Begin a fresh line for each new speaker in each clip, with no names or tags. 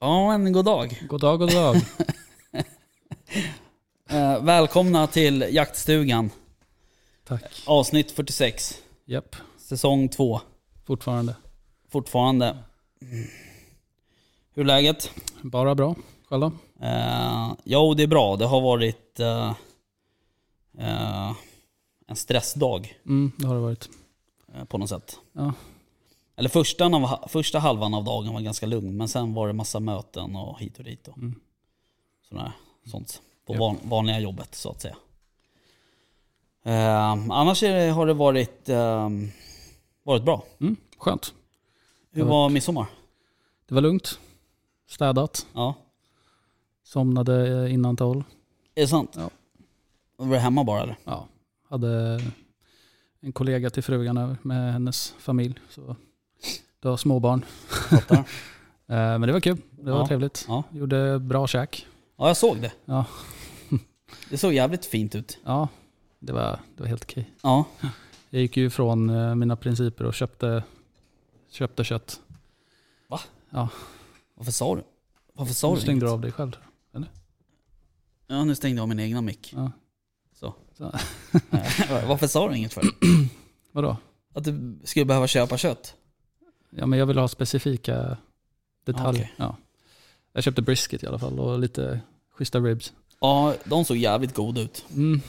Ja, en god dag.
God dag, god dag.
Eh, välkomna till Jaktstugan,
Tack.
avsnitt 46,
Japp,
säsong 2,
fortfarande.
fortfarande. Mm. Hur är läget?
Bara bra. Själv då?
Eh, jo, det är bra. Det har varit eh, eh, en stressdag
Mm, det har det varit.
eh, på något sätt.
Ja.
Eller första, av- första halvan av dagen var ganska lugn, men sen var det massa möten och hit och dit och
Mm.
sådär, sånt. På
Japp.
van, vanliga jobbet så att säga. Eh, annars är det, har det varit, eh, varit bra.
Mm, skönt.
Hur
Det har
var midsommar?
Det var lugnt. Städat.
Ja,
Somnade eh, innan tolv.
är det sant?
Ja.
Var du hemma bara eller?
Ja, hade en kollega till frugan över med hennes familj. Så det var småbarn.
Fattar.
eh, men det var kul. Det var
Ja,
trevligt.
ja.
Gjorde bra käk.
Ja, jag såg det.
Ja.
Det såg jävligt fint ut.
Ja, det var, det var helt okej.
Ja,
Jag gick ju ifrån eh, mina principer och köpte, köpte kött.
varför sa du? Varför sa
Du
du
stängde
inget?
du av dig själv.
Ja, nu stängde jag av min egna mick.
Ja.
Så.
Så.
Varför sa du inget för?
Vadå?
Att du skulle behöva köpa kött?
Ja, men jag vill ha specifika detaljer.
Ah, okej.
Ja. Jag köpte brisket i alla fall och lite schyssta ribs.
Ja, de såg jävligt goda ut.
Mm.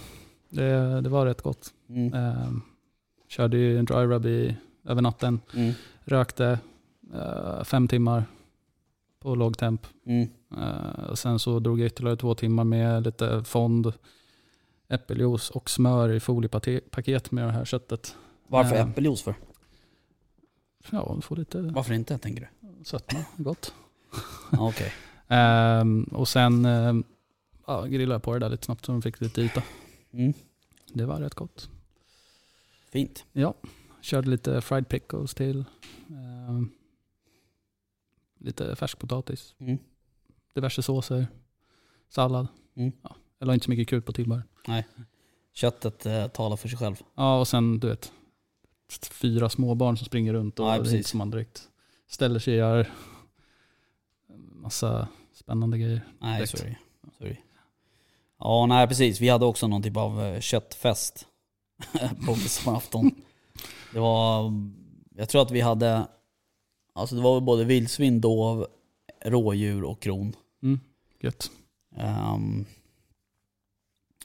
Det, det var rätt gott.
Mm.
Ehm, körde ju en dry rub i, över natten.
Mm.
Rökte eh, fem timmar på låg temp.
Mm.
Eh, och sen så drog jag ytterligare två timmar med lite fond, äppeljuice och smör i foliepaket med det här köttet.
Varför
Ehm.
äppeljuice för?
Ja, få lite
Varför inte tänker du?
sötma. Gott.
Ja, Okej.
Ehm, och sen ehm, ja, grillade jag på det där lite snabbt så de fick lite yta.
Mm.
Det var rätt gott.
Fint.
Ja, körde lite fried pickles till. Ehm, lite färskpotatis,
Mm.
diverse såser, sallad.
Mm.
Ja, jag la inte så mycket krut på tillbehör.
Köttet eh, talar för sig själv.
Ja, och sen du vet, fyra småbarn som springer runt och
Ja,
det är inte
precis.
som man direkt ställer sig och gör massa spännande grejer.
Nej,
Direkt.
sorry. sorry. Ja, nej precis. Vi hade också någon typ av eh, köttfest på midsommarafton. Det var, jag tror att vi hade, alltså det var väl både vildsvin, dov, rådjur och kron.
Mm, gött,
Ehm,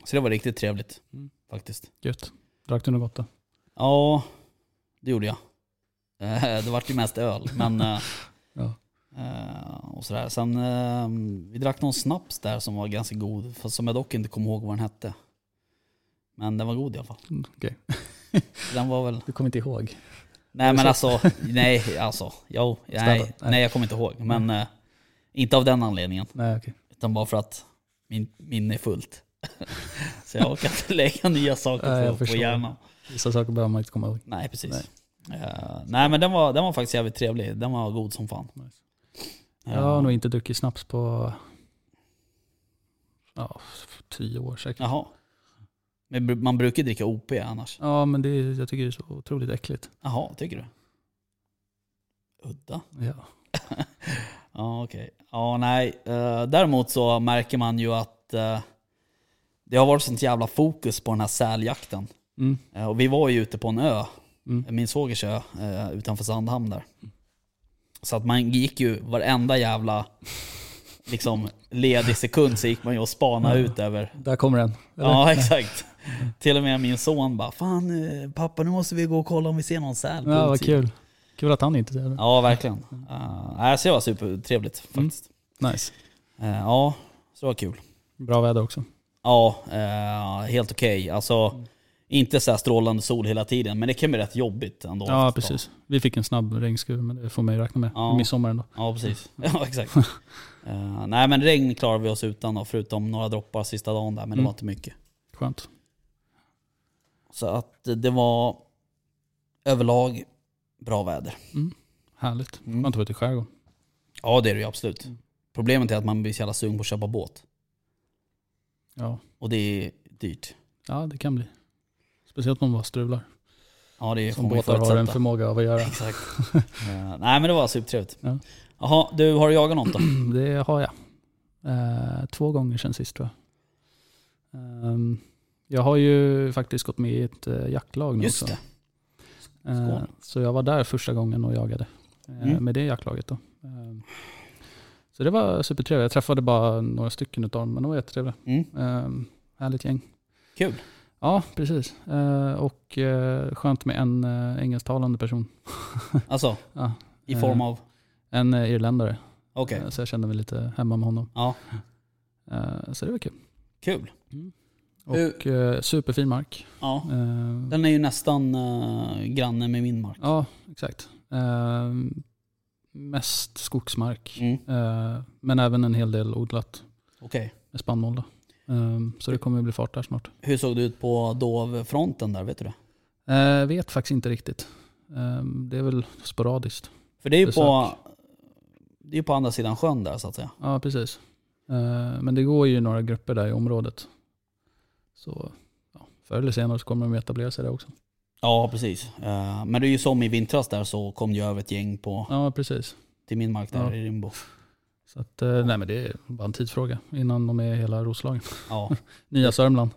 så det var riktigt trevligt
Mm.
faktiskt.
gött. Drack du något gott då?
Ja, det gjorde jag. Eh, Det vart ju mest öl, men... eh,
Ja.
eh, Och sådär. Sen, eh, vi drack någon snaps där som var ganska god, fast som jag dock inte kommer ihåg vad den hette. Men den var god i alla fall.
Mm, Okej.
Den var väl...
Du kommer inte ihåg?
Nej men
så?
alltså, nej alltså. Jo, nej,
Städat, nej.
nej jag kommer inte ihåg.
Mm.
Men eh, inte av den anledningen,
Nej, okej.
utan bara för att min minne är fullt. Så jag orkar inte lägga nya
Nej,
saker
jag
på, på
förstår.
hjärnan.
Vissa saker behöver man inte komma ihåg.
Nej, precis. Nej, nej men den var, den var faktiskt jävligt trevlig. Den var god som fan.
Nice.
Eh,
Jag har nog inte druckit snaps på ja, tio år säkert.
Jaha. Men br- man brukar dricka OP annars.
Ja, men det, är- jag tycker det är så otroligt äckligt.
Jaha, tycker du? Udda.
Ja.
Ja, okej. Ja, nej. Eh, däremot så märker man ju att eh, det har varit sånt jävla fokus på den här säljakten.
Mm.
Eh, och vi var ju ute på en ö,
Mm.
min svågers ö, eh, utanför Sandhamn där. Så att man gick ju varenda jävla liksom, ledig sekund så gick man ju och spanade ut över
Där kommer den. Eller?
Ja, exakt. Till och med min son bara, fan eh, pappa nu måste vi gå och kolla om vi ser någon säl. på
ja vad
utsidan."
kul. Kul att han inte ser det.
Ja, verkligen. Uh, nej, så det var supertrevligt
Mm.
faktiskt.
Nice.
Eh, ja, så det var kul.
Bra väder också.
Ja, eh, helt okej.
Mm.
Alltså, inte så här strålande sol hela tiden, men det kan bli rätt jobbigt ändå.
Ja,
Fast,
precis. Vi fick en snabb regnskur, men det får man ju räkna med.
Ja.
Midsommar ändå.
Ja, precis.
Mm.
Ja, exakt. Eh, nej, men regn klarar vi oss utan då, förutom några droppar sista dagen där, men det
Mm.
var inte mycket.
Skönt.
Så att eh, det var överlag bra väder.
Härligt.
Mm.
Skönt att vara ute i skärgården.
Ja det är det ju absolut.
Mm.
Problemet är att man blir så jävla sugen på att köpa båt.
Ja.
Och det är dyrt.
ja, det kan bli. Speciellt om man bara strular.
Ja, det får
Som
man ju
båtar har en
förutsätta.
förmåga av att göra.
Exakt. Eh, nej men det var supertrevligt.
Ja.
Jaha, du har du jagat något då?
Det har jag. Eh, två gånger sen sist tror jag. Ehm, jag har ju faktiskt gått med i ett eh, jaktlag nu
Just
också.
det.
Eh,
Skål.
så jag var där första gången och jagade eh,
Mm.
med det jaktlaget. Då. Ehm, så det var supertrevligt. Jag träffade bara några stycken utav dem, men de var jättetrevliga.
Mm.
Um, härligt gäng.
Kul.
Ja, precis. Eh, och eh, skönt med en eh, engelsktalande person.
Alltså,
Ja,
i form av...
en eh, irländare.
Okej.
Eh, så jag kände mig lite hemma med honom.
Ja,
Eh, så det var kul.
kul.
Och eh, superfin mark.
Ja.
Eh,
Den är ju nästan eh, granne med min mark.
ja, exakt. Eh, mest skogsmark.
Mm.
Eh, men även en hel del odlat
Okej.
med spannmål. Då. Eh, så det kommer bli fart där snart.
Hur såg det ut på dovfronten där, vet du det?
Eh, vet faktiskt inte riktigt. Eh, det är väl sporadiskt.
För det är ju
Besök.
på, det är ju på andra sidan sjön där så att säga.
Ja, precis. Eh, men det går ju några grupper där i området. Så ja, förr eller senare så kommer de att etablera sig där också.
Ja, precis. Eh, Men det är ju som i vintras där så kom det ju över ett gäng på,
Ja, precis.
till min mark där
Ja.
i Rimbo.
Så att, eh, nej, men det är bara en tidsfråga innan de är i hela Roslagen.
Ja.
Nya Sörmland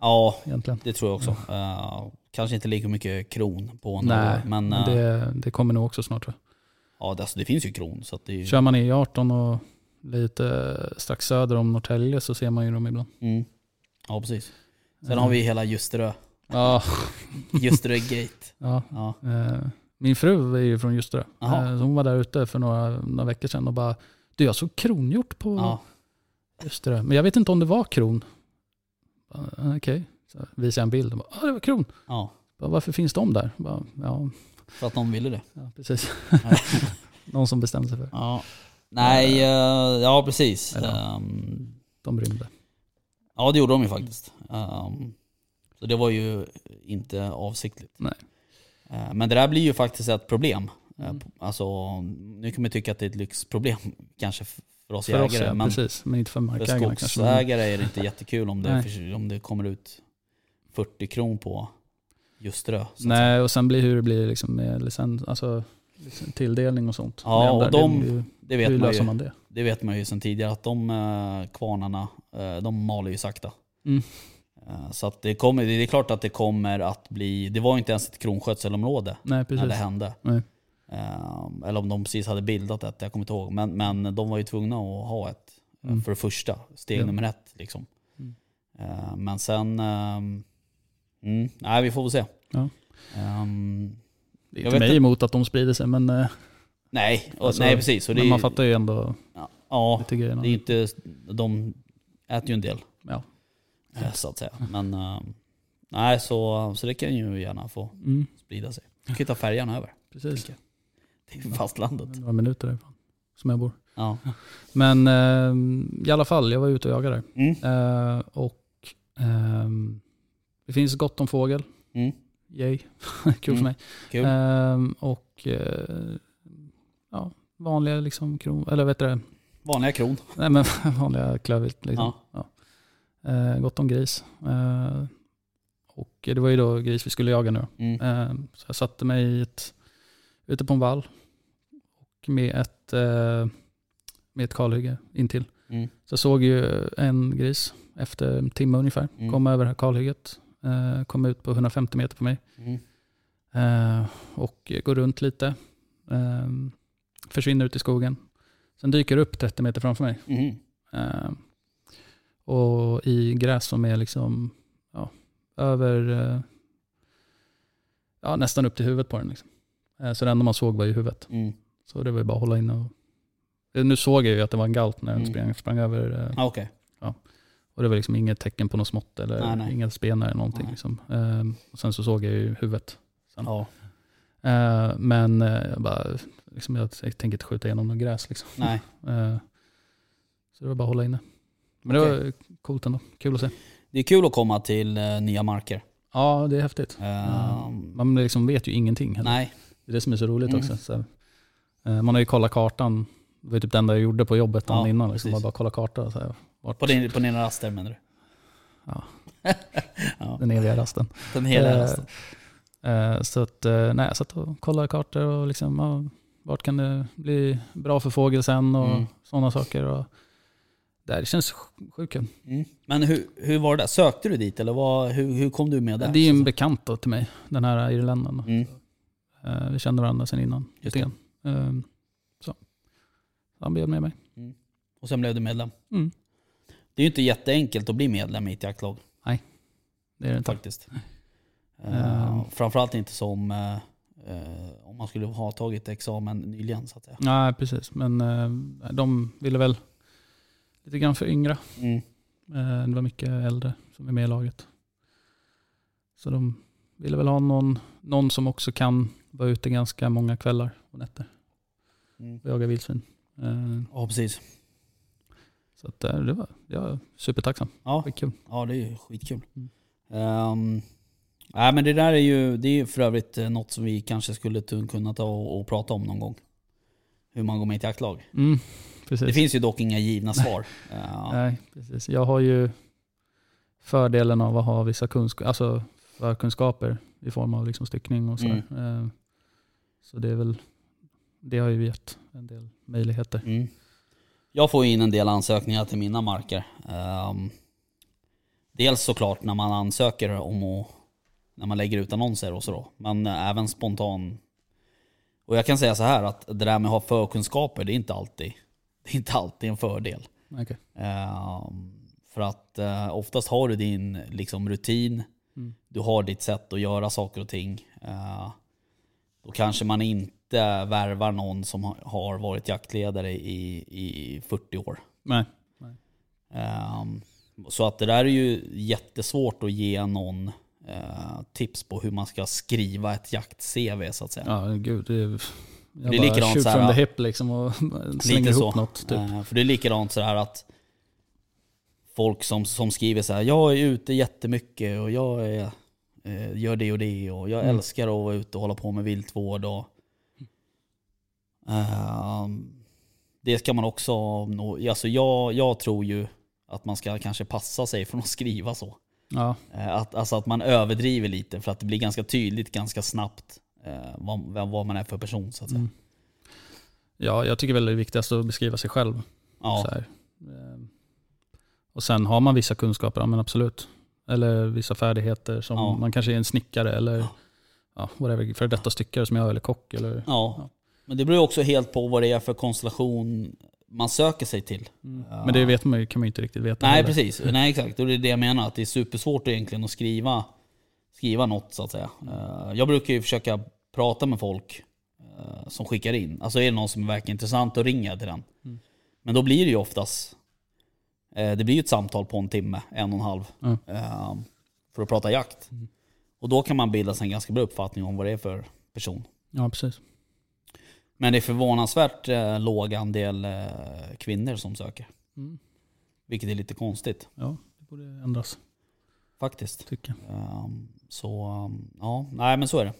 ja,
egentligen.
det tror jag också. Eh, Kanske inte lika mycket kron på en
Nej,
år, men,
Men
eh,
det, det kommer nog också snart. Tror
ja, det, alltså, det finns ju kron. Så att det är
jag.
ju,
Kör man E18 och lite strax söder om Norrtälje så ser man ju dem ibland.
mm. Ja, precis. Sen har vi hela Ljusterö,
Ja,
Ljusterö Gate.
ja.
Ja.
Eh, Min fru är ju från Ljusterö.
Jaha.
Eh, så Hon var där ute för några, några veckor sedan och bara, du jag såg kronhjort på
Ja.
Just det, men jag vet inte om det var kron. Bara, "Eh, Okej, så visade jag en bild. och Bara, ah, det var kron.
ja,
Bara, Varför finns de där? Bara, ja,
för att någon ville det.
ja, precis. Någon som bestämde sig för det.
Ja. Nej, eh, ja precis.
Eller-
Ehm,
De rymde.
Ja det gjorde de ju faktiskt. Ehm, så det var ju inte avsiktligt.
Nej.
Eh, men det där blir ju faktiskt ett problem. Eh,
Mm.
p- Alltså, nu kan man tycka att det är ett lyxproblem kanske f- för oss
För
jägare.
oss, ja,
men
precis. Men inte för
för
markägarna kanske. men-
skogsägare är det inte jättekul om det,
Nej.
för, om det kommer ut 40 kron på just det. så att säga.
Nej, och sen blir hur det blir liksom med licens, alltså, liksom tilldelning och sånt.
Ja,
Men
och
där, det
de
blir ju-
Det
hur
vet, man
löser
ju,
man det?
det vet man ju sedan tidigare att de eh, kvarnarna, eh, de maler ju sakta.
Mm.
Eh, Så att det, kommer, det är klart att det kommer att bli, det var ju inte ens ett kronskötselområde
Nej, precis.
när det hände.
Nej.
Ehm, eller om de precis hade bildat ett, jag kommer inte ihåg. Men, men de var ju tvungna att ha ett eh,
Mm.
för det första. Steg
Ja.
nummer ett. Liksom.
Mm.
Ehm, men sen... ehm, mm, nej, vi får väl se.
Ja.
Ehm,
Det är
Jag
inte
vet
mig
inte.
emot att de sprider sig, men, eh,
nej, och,
Alltså,
nej, precis. Och det,
men man
är-
fattar ju ändå
ja,
lite grejerna.
det är inte... De äter ju en del.
Ja.
eh, Så att säga. Men ehm, nej, så, så det kan ju gärna få
Mm,
sprida sig. Du kan ju ta färjan över
precis.
till fastlandet.
Några minuter därifrån, som jag bor.
Ja.
Men eh, i alla fall, jag var ute och jagade där.
Mm,
Eh, och ehm, det finns gott om fågel.
mm,
Yay, kul
Mm,
för mig.
kul.
Ehm, och eh, ja, vanliga liksom kron... Eller vet du det?
Vanliga kron.
Nej men vanliga klövvilt liksom.
Ja.
Eh, gott om gris. Eh, och det var ju då gris vi skulle jaga nu.
Mm.
Eh, så jag satte mig i ett, ute på en vall. Och med ett, eh, med ett kalhygge intill.
Mm.
Så jag såg ju en gris efter en timme ungefär.
Mm.
Kom över det här kalhygget. Eh, kom ut på 150 meter på mig.
Mm.
Eh, och går runt lite. Eh, försvinner ut i skogen. Sen dyker upp 30 meter framför mig.
Mm.
Eh, och i gräs som är liksom ja, över eh, ja, nästan upp till huvudet på den. Liksom. Eh, så det enda man såg var ju huvudet.
Mm.
Så det var ju bara att hålla inne. Och, Eh, nu såg jag ju att det var en galt när den
Mm.
sprang, sprang över. Eh,
Ah, Okej.
och det var liksom inget tecken på något smått eller
Nej, nej.
inga spen eller någonting.
Nej.
Liksom. Eh, och sen så såg jag ju huvudet.
Ja.
Eh, men eh, jag bara, liksom, jag tänker inte skjuta igenom något gräs. Liksom.
Nej.
Eh, så det var bara att hålla inne. Men det var coolt ändå. Kul att se.
Det är kul att komma till eh, nya marker.
Ja, det är häftigt.
Ehm,
Man liksom vet ju ingenting. heller.
Nej.
Det är det som är så roligt
Mm.
också. Så, eh, man har ju kollat kartan. Det var typ det enda jag gjorde på jobbet dagen
Ja,
innan. Liksom.
precis.
Man bara kolla kartan. Så här, vart,
På, din, på dina raster menar du?
Den eviga rasten.
Den hela
Eh,
rasten.
Eh, Så att, eh, nej, jag satt och kollade kartor och liksom, ja, vart kan det bli bra för fågel sen och
Mm.
sådana saker. Och det här känns sj- sjukt kul.
Mm. Men hur, hur var det där? Sökte du dit eller vad, hur, hur kom du med där? Alltså,
Det är ju en bekant då till mig, den här irländaren. då.
Mm.
Eh, Vi kände varandra sen innan.
Just
lite grann. Eh, Så. Han bjöd med mig.
Och sen blev du medlem.
Mm.
Det är ju inte jätteenkelt att bli medlem i ett jaktlag
Det är det inte.
faktiskt.
Ehm.
Uh, framförallt inte som eh, eh, om man skulle ha tagit examen nyligen så att säga.
Nej, precis. Men eh, de ville väl lite grann för yngre.
Mm.
Eh, Det var mycket äldre som är med i laget. Så de ville väl ha någon, någon som också kan vara ute ganska många kvällar och nätter
Mm.
och jaga vildsvin. Eh,
Ja precis.
Så att eh, det var, jag är supertacksam.
Ja.
Skitkul.
Ja, det är ju skitkul.
Mm.
Ehm, nej, men det där är ju, det är ju för övrigt eh, något som vi kanske skulle tu- kunna ta och, och prata om någon gång. Hur man går med i ett jaktlag.
Mm,
Det
precis.
finns ju dock inga givna svar. Ehm,
Nej, Eh, precis. Jag har ju fördelen av att ha vissa kunskaper, alltså förkunskaper i form av liksom styckning och sådär.
Mm.
Eh, Så det är väl, det har ju gett en del möjligheter.
Mm. Jag får ju in en del ansökningar till mina marker. Ehm, dels såklart när man ansöker om att, när man lägger ut annonser och så då. Men eh, även spontan. Och jag kan säga så här att det där med att ha förkunskaper, det är inte alltid, det är inte alltid en fördel.
Okej.
Ehm, för att eh, oftast har du din liksom, rutin,
Mm.
du har ditt sätt att göra saker och ting. Eh, då kanske man inte värvar någon som ha- har varit jaktledare i, i 40 år.
Nej.
Ehm, så att det där är ju jättesvårt att ge någon eh, tips på hur man ska skriva ett jakt-CV så att säga.
Ja, gud. Det är, jag
Det är
bara
likadant
shoot
så här,
from the
ja.
hip liksom och slänger
Lite
ihop
så.
något. Typ.
Eh, För det är likadant så här att folk som, som skriver så här, jag är ute jättemycket och jag är, eh, gör det och det och jag
Mm.
älskar att vara ute och hålla på med viltvård. Och, Ehm, det ska man också, nå- alltså jag, jag tror ju att man ska kanske passa sig från att skriva så.
Ja,
Eh, Att, alltså att man överdriver lite för att det blir ganska tydligt ganska snabbt eh, vad, vem- vad man är för person så att säga.
Mm. ja, jag tycker väl det är viktigast att beskriva sig själv. Så
Ja,
här. Ehm, Och sen har man vissa kunskaper, ja men absolut. Eller vissa färdigheter som
Ja.
man kanske är en snickare eller
Ja.
ja, whatever, för detta styckare som jag är, eller kock. Eller,
ja. Men det beror ju också helt på vad det är för konstellation man söker sig till.
Men det vet man ju, kan man ju inte riktigt veta
Nej
heller.
precis, nej exakt. Och det är det jag menar, att det är supersvårt egentligen att skriva, skriva något så att säga. Eh, Jag brukar ju försöka prata med folk eh, som skickar in. Alltså är det någon som verkar intressant, då ringer jag till den.
Mm.
Men då blir det ju oftast, eh, det blir ju ett samtal på en timme, en och en halv.
Mm.
eh, För att prata jakt.
Mm.
Och då kan man bilda sig en ganska bra uppfattning om vad det är för person.
Ja, precis.
Men det är förvånansvärt eh, låg andel eh, kvinnor som söker.
Mm.
Vilket är lite konstigt
Ja, det borde ändras,
faktiskt.
tycker jag.
Ehm, Så ehm, ja, nej men så är det.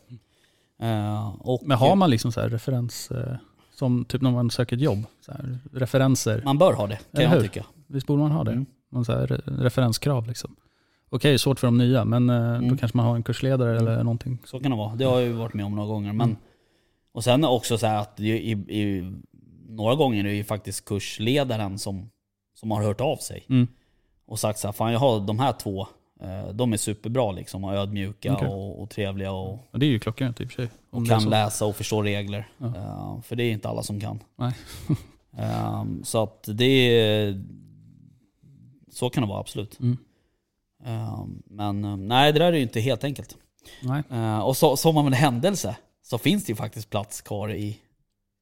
Ehm, Och
Men har man liksom så här referens, eh, som typ när man söker ett jobb, så här, referenser
man bör ha det kan
Eller
jag
hur?
tycka.
Visst borde man ha det?
Mm.
Man så här, re- referenskrav liksom. Okej, svårt för de nya, men eh, då
Mm.
kanske man har en kursledare
Mm.
eller någonting.
Så kan det vara. Det har jag ju varit med om några gånger. Men,
Mm.
och sen också så här att det är ju i, i, några gånger är det ju faktiskt kursledaren som, som har hört av sig.
Mm.
Och sagt så här, fan jag har de här två, eh, de är superbra liksom och ödmjuka
Okej.
och, och trevliga och
Och det är ju klockrent i och för sig. Om det är
kan
så.
läsa och förstå regler.
Ja.
Eh, för det är inte alla som kan.
Nej.
Ehm, så att det är... Så kan det vara absolut.
Mm.
Ehm, men eh, nej, det där är ju inte helt enkelt.
Nej.
Eh, och så, som av en händelse så finns det ju faktiskt plats kvar i,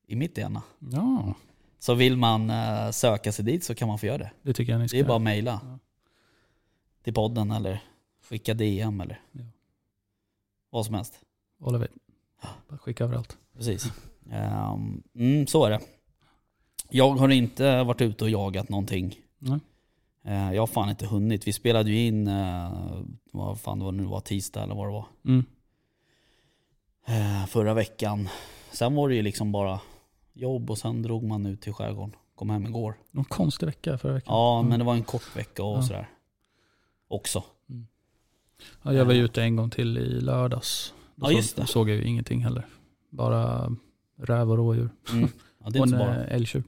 i mitt ena.
Ja,
Så vill man eh, söka sig dit så kan man få göra det.
det tycker jag ni ska
Det är bara att mejla
Ja.
till podden eller skicka DM eller
Ja.
vad som helst.
hålla vid. Bara skicka överallt.
Precis. Ehm, mm, så är det. Jag har inte varit ute och jagat någonting.
Nej.
Eh, jag har fan inte hunnit. Vi spelade ju in, eh, vad fan det var nu var, tisdag eller vad det var,
Mm.
eh, förra veckan. Sen var det ju liksom bara jobb och sen drog man ut till skärgården. Kom hem igår.
Någon konstig vecka förra veckan.
Ja,
Mm.
men det var en kort vecka och
Ja.
sådär. Också.
Ja, jag var ju ute en gång till i lördags. Då
Ja, just
såg,
det.
såg jag ju ingenting heller. Bara räv och rådjur.
Mm. Ja, det är
och
inte
en
så bara.
eh, älgtjur.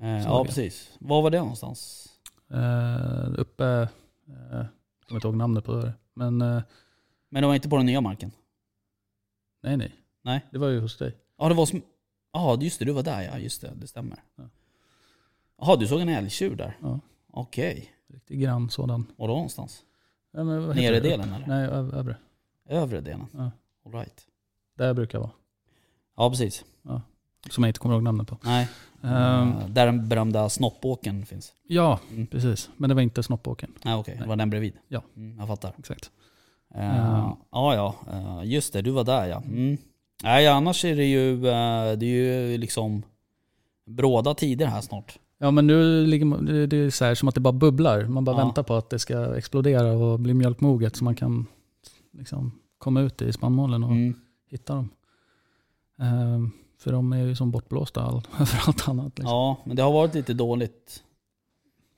Eh, ja,
såg jag.
precis. Var var det någonstans?
Eh, uppe, eh, jag kommer inte ihåg namnet på det. Men eh,
Men det var inte på den nya marken?
nej, nej.
Nej.
Det var ju hos dig.
Ja, det var som... Ja, just det. Du var där. Ja, just det. Det stämmer.
Ja.
Jaha, du såg en älgtjur där?
Ja.
Okej.
Riktig grann sådan.
Var då någonstans?
Ja, men vad heter
Nere
det?
delen eller?
Nej, ö- övre.
Övre delen?
Ja.
All right.
Där jag brukar vara.
Ja, precis.
Som jag inte kommer ihåg namnet på.
Nej.
Ehm,
Eh, där den berömda snoppåken finns.
ja,
Mm.
precis. Men det var inte snoppåken.
Nej, okej. Det
Nej.
var den bredvid?
Ja.
Mm, jag fattar.
Exakt.
Eh,
Mm.
Ja, ja. Eh, just det, du var där ja. Mm. Nej, annars är det ju, eh, det är ju liksom bråda tider här snart.
Ja, men nu ligger man, det det är så här som att det bara bubblar. Man bara
Ja.
väntar på att det ska explodera och bli mjölkmoget så man kan liksom komma ut i spannmålen och
Mm.
hitta dem. Ehm, för de är ju som bortblåsta all, för allt annat. Liksom.
Ja, men det har varit lite dåligt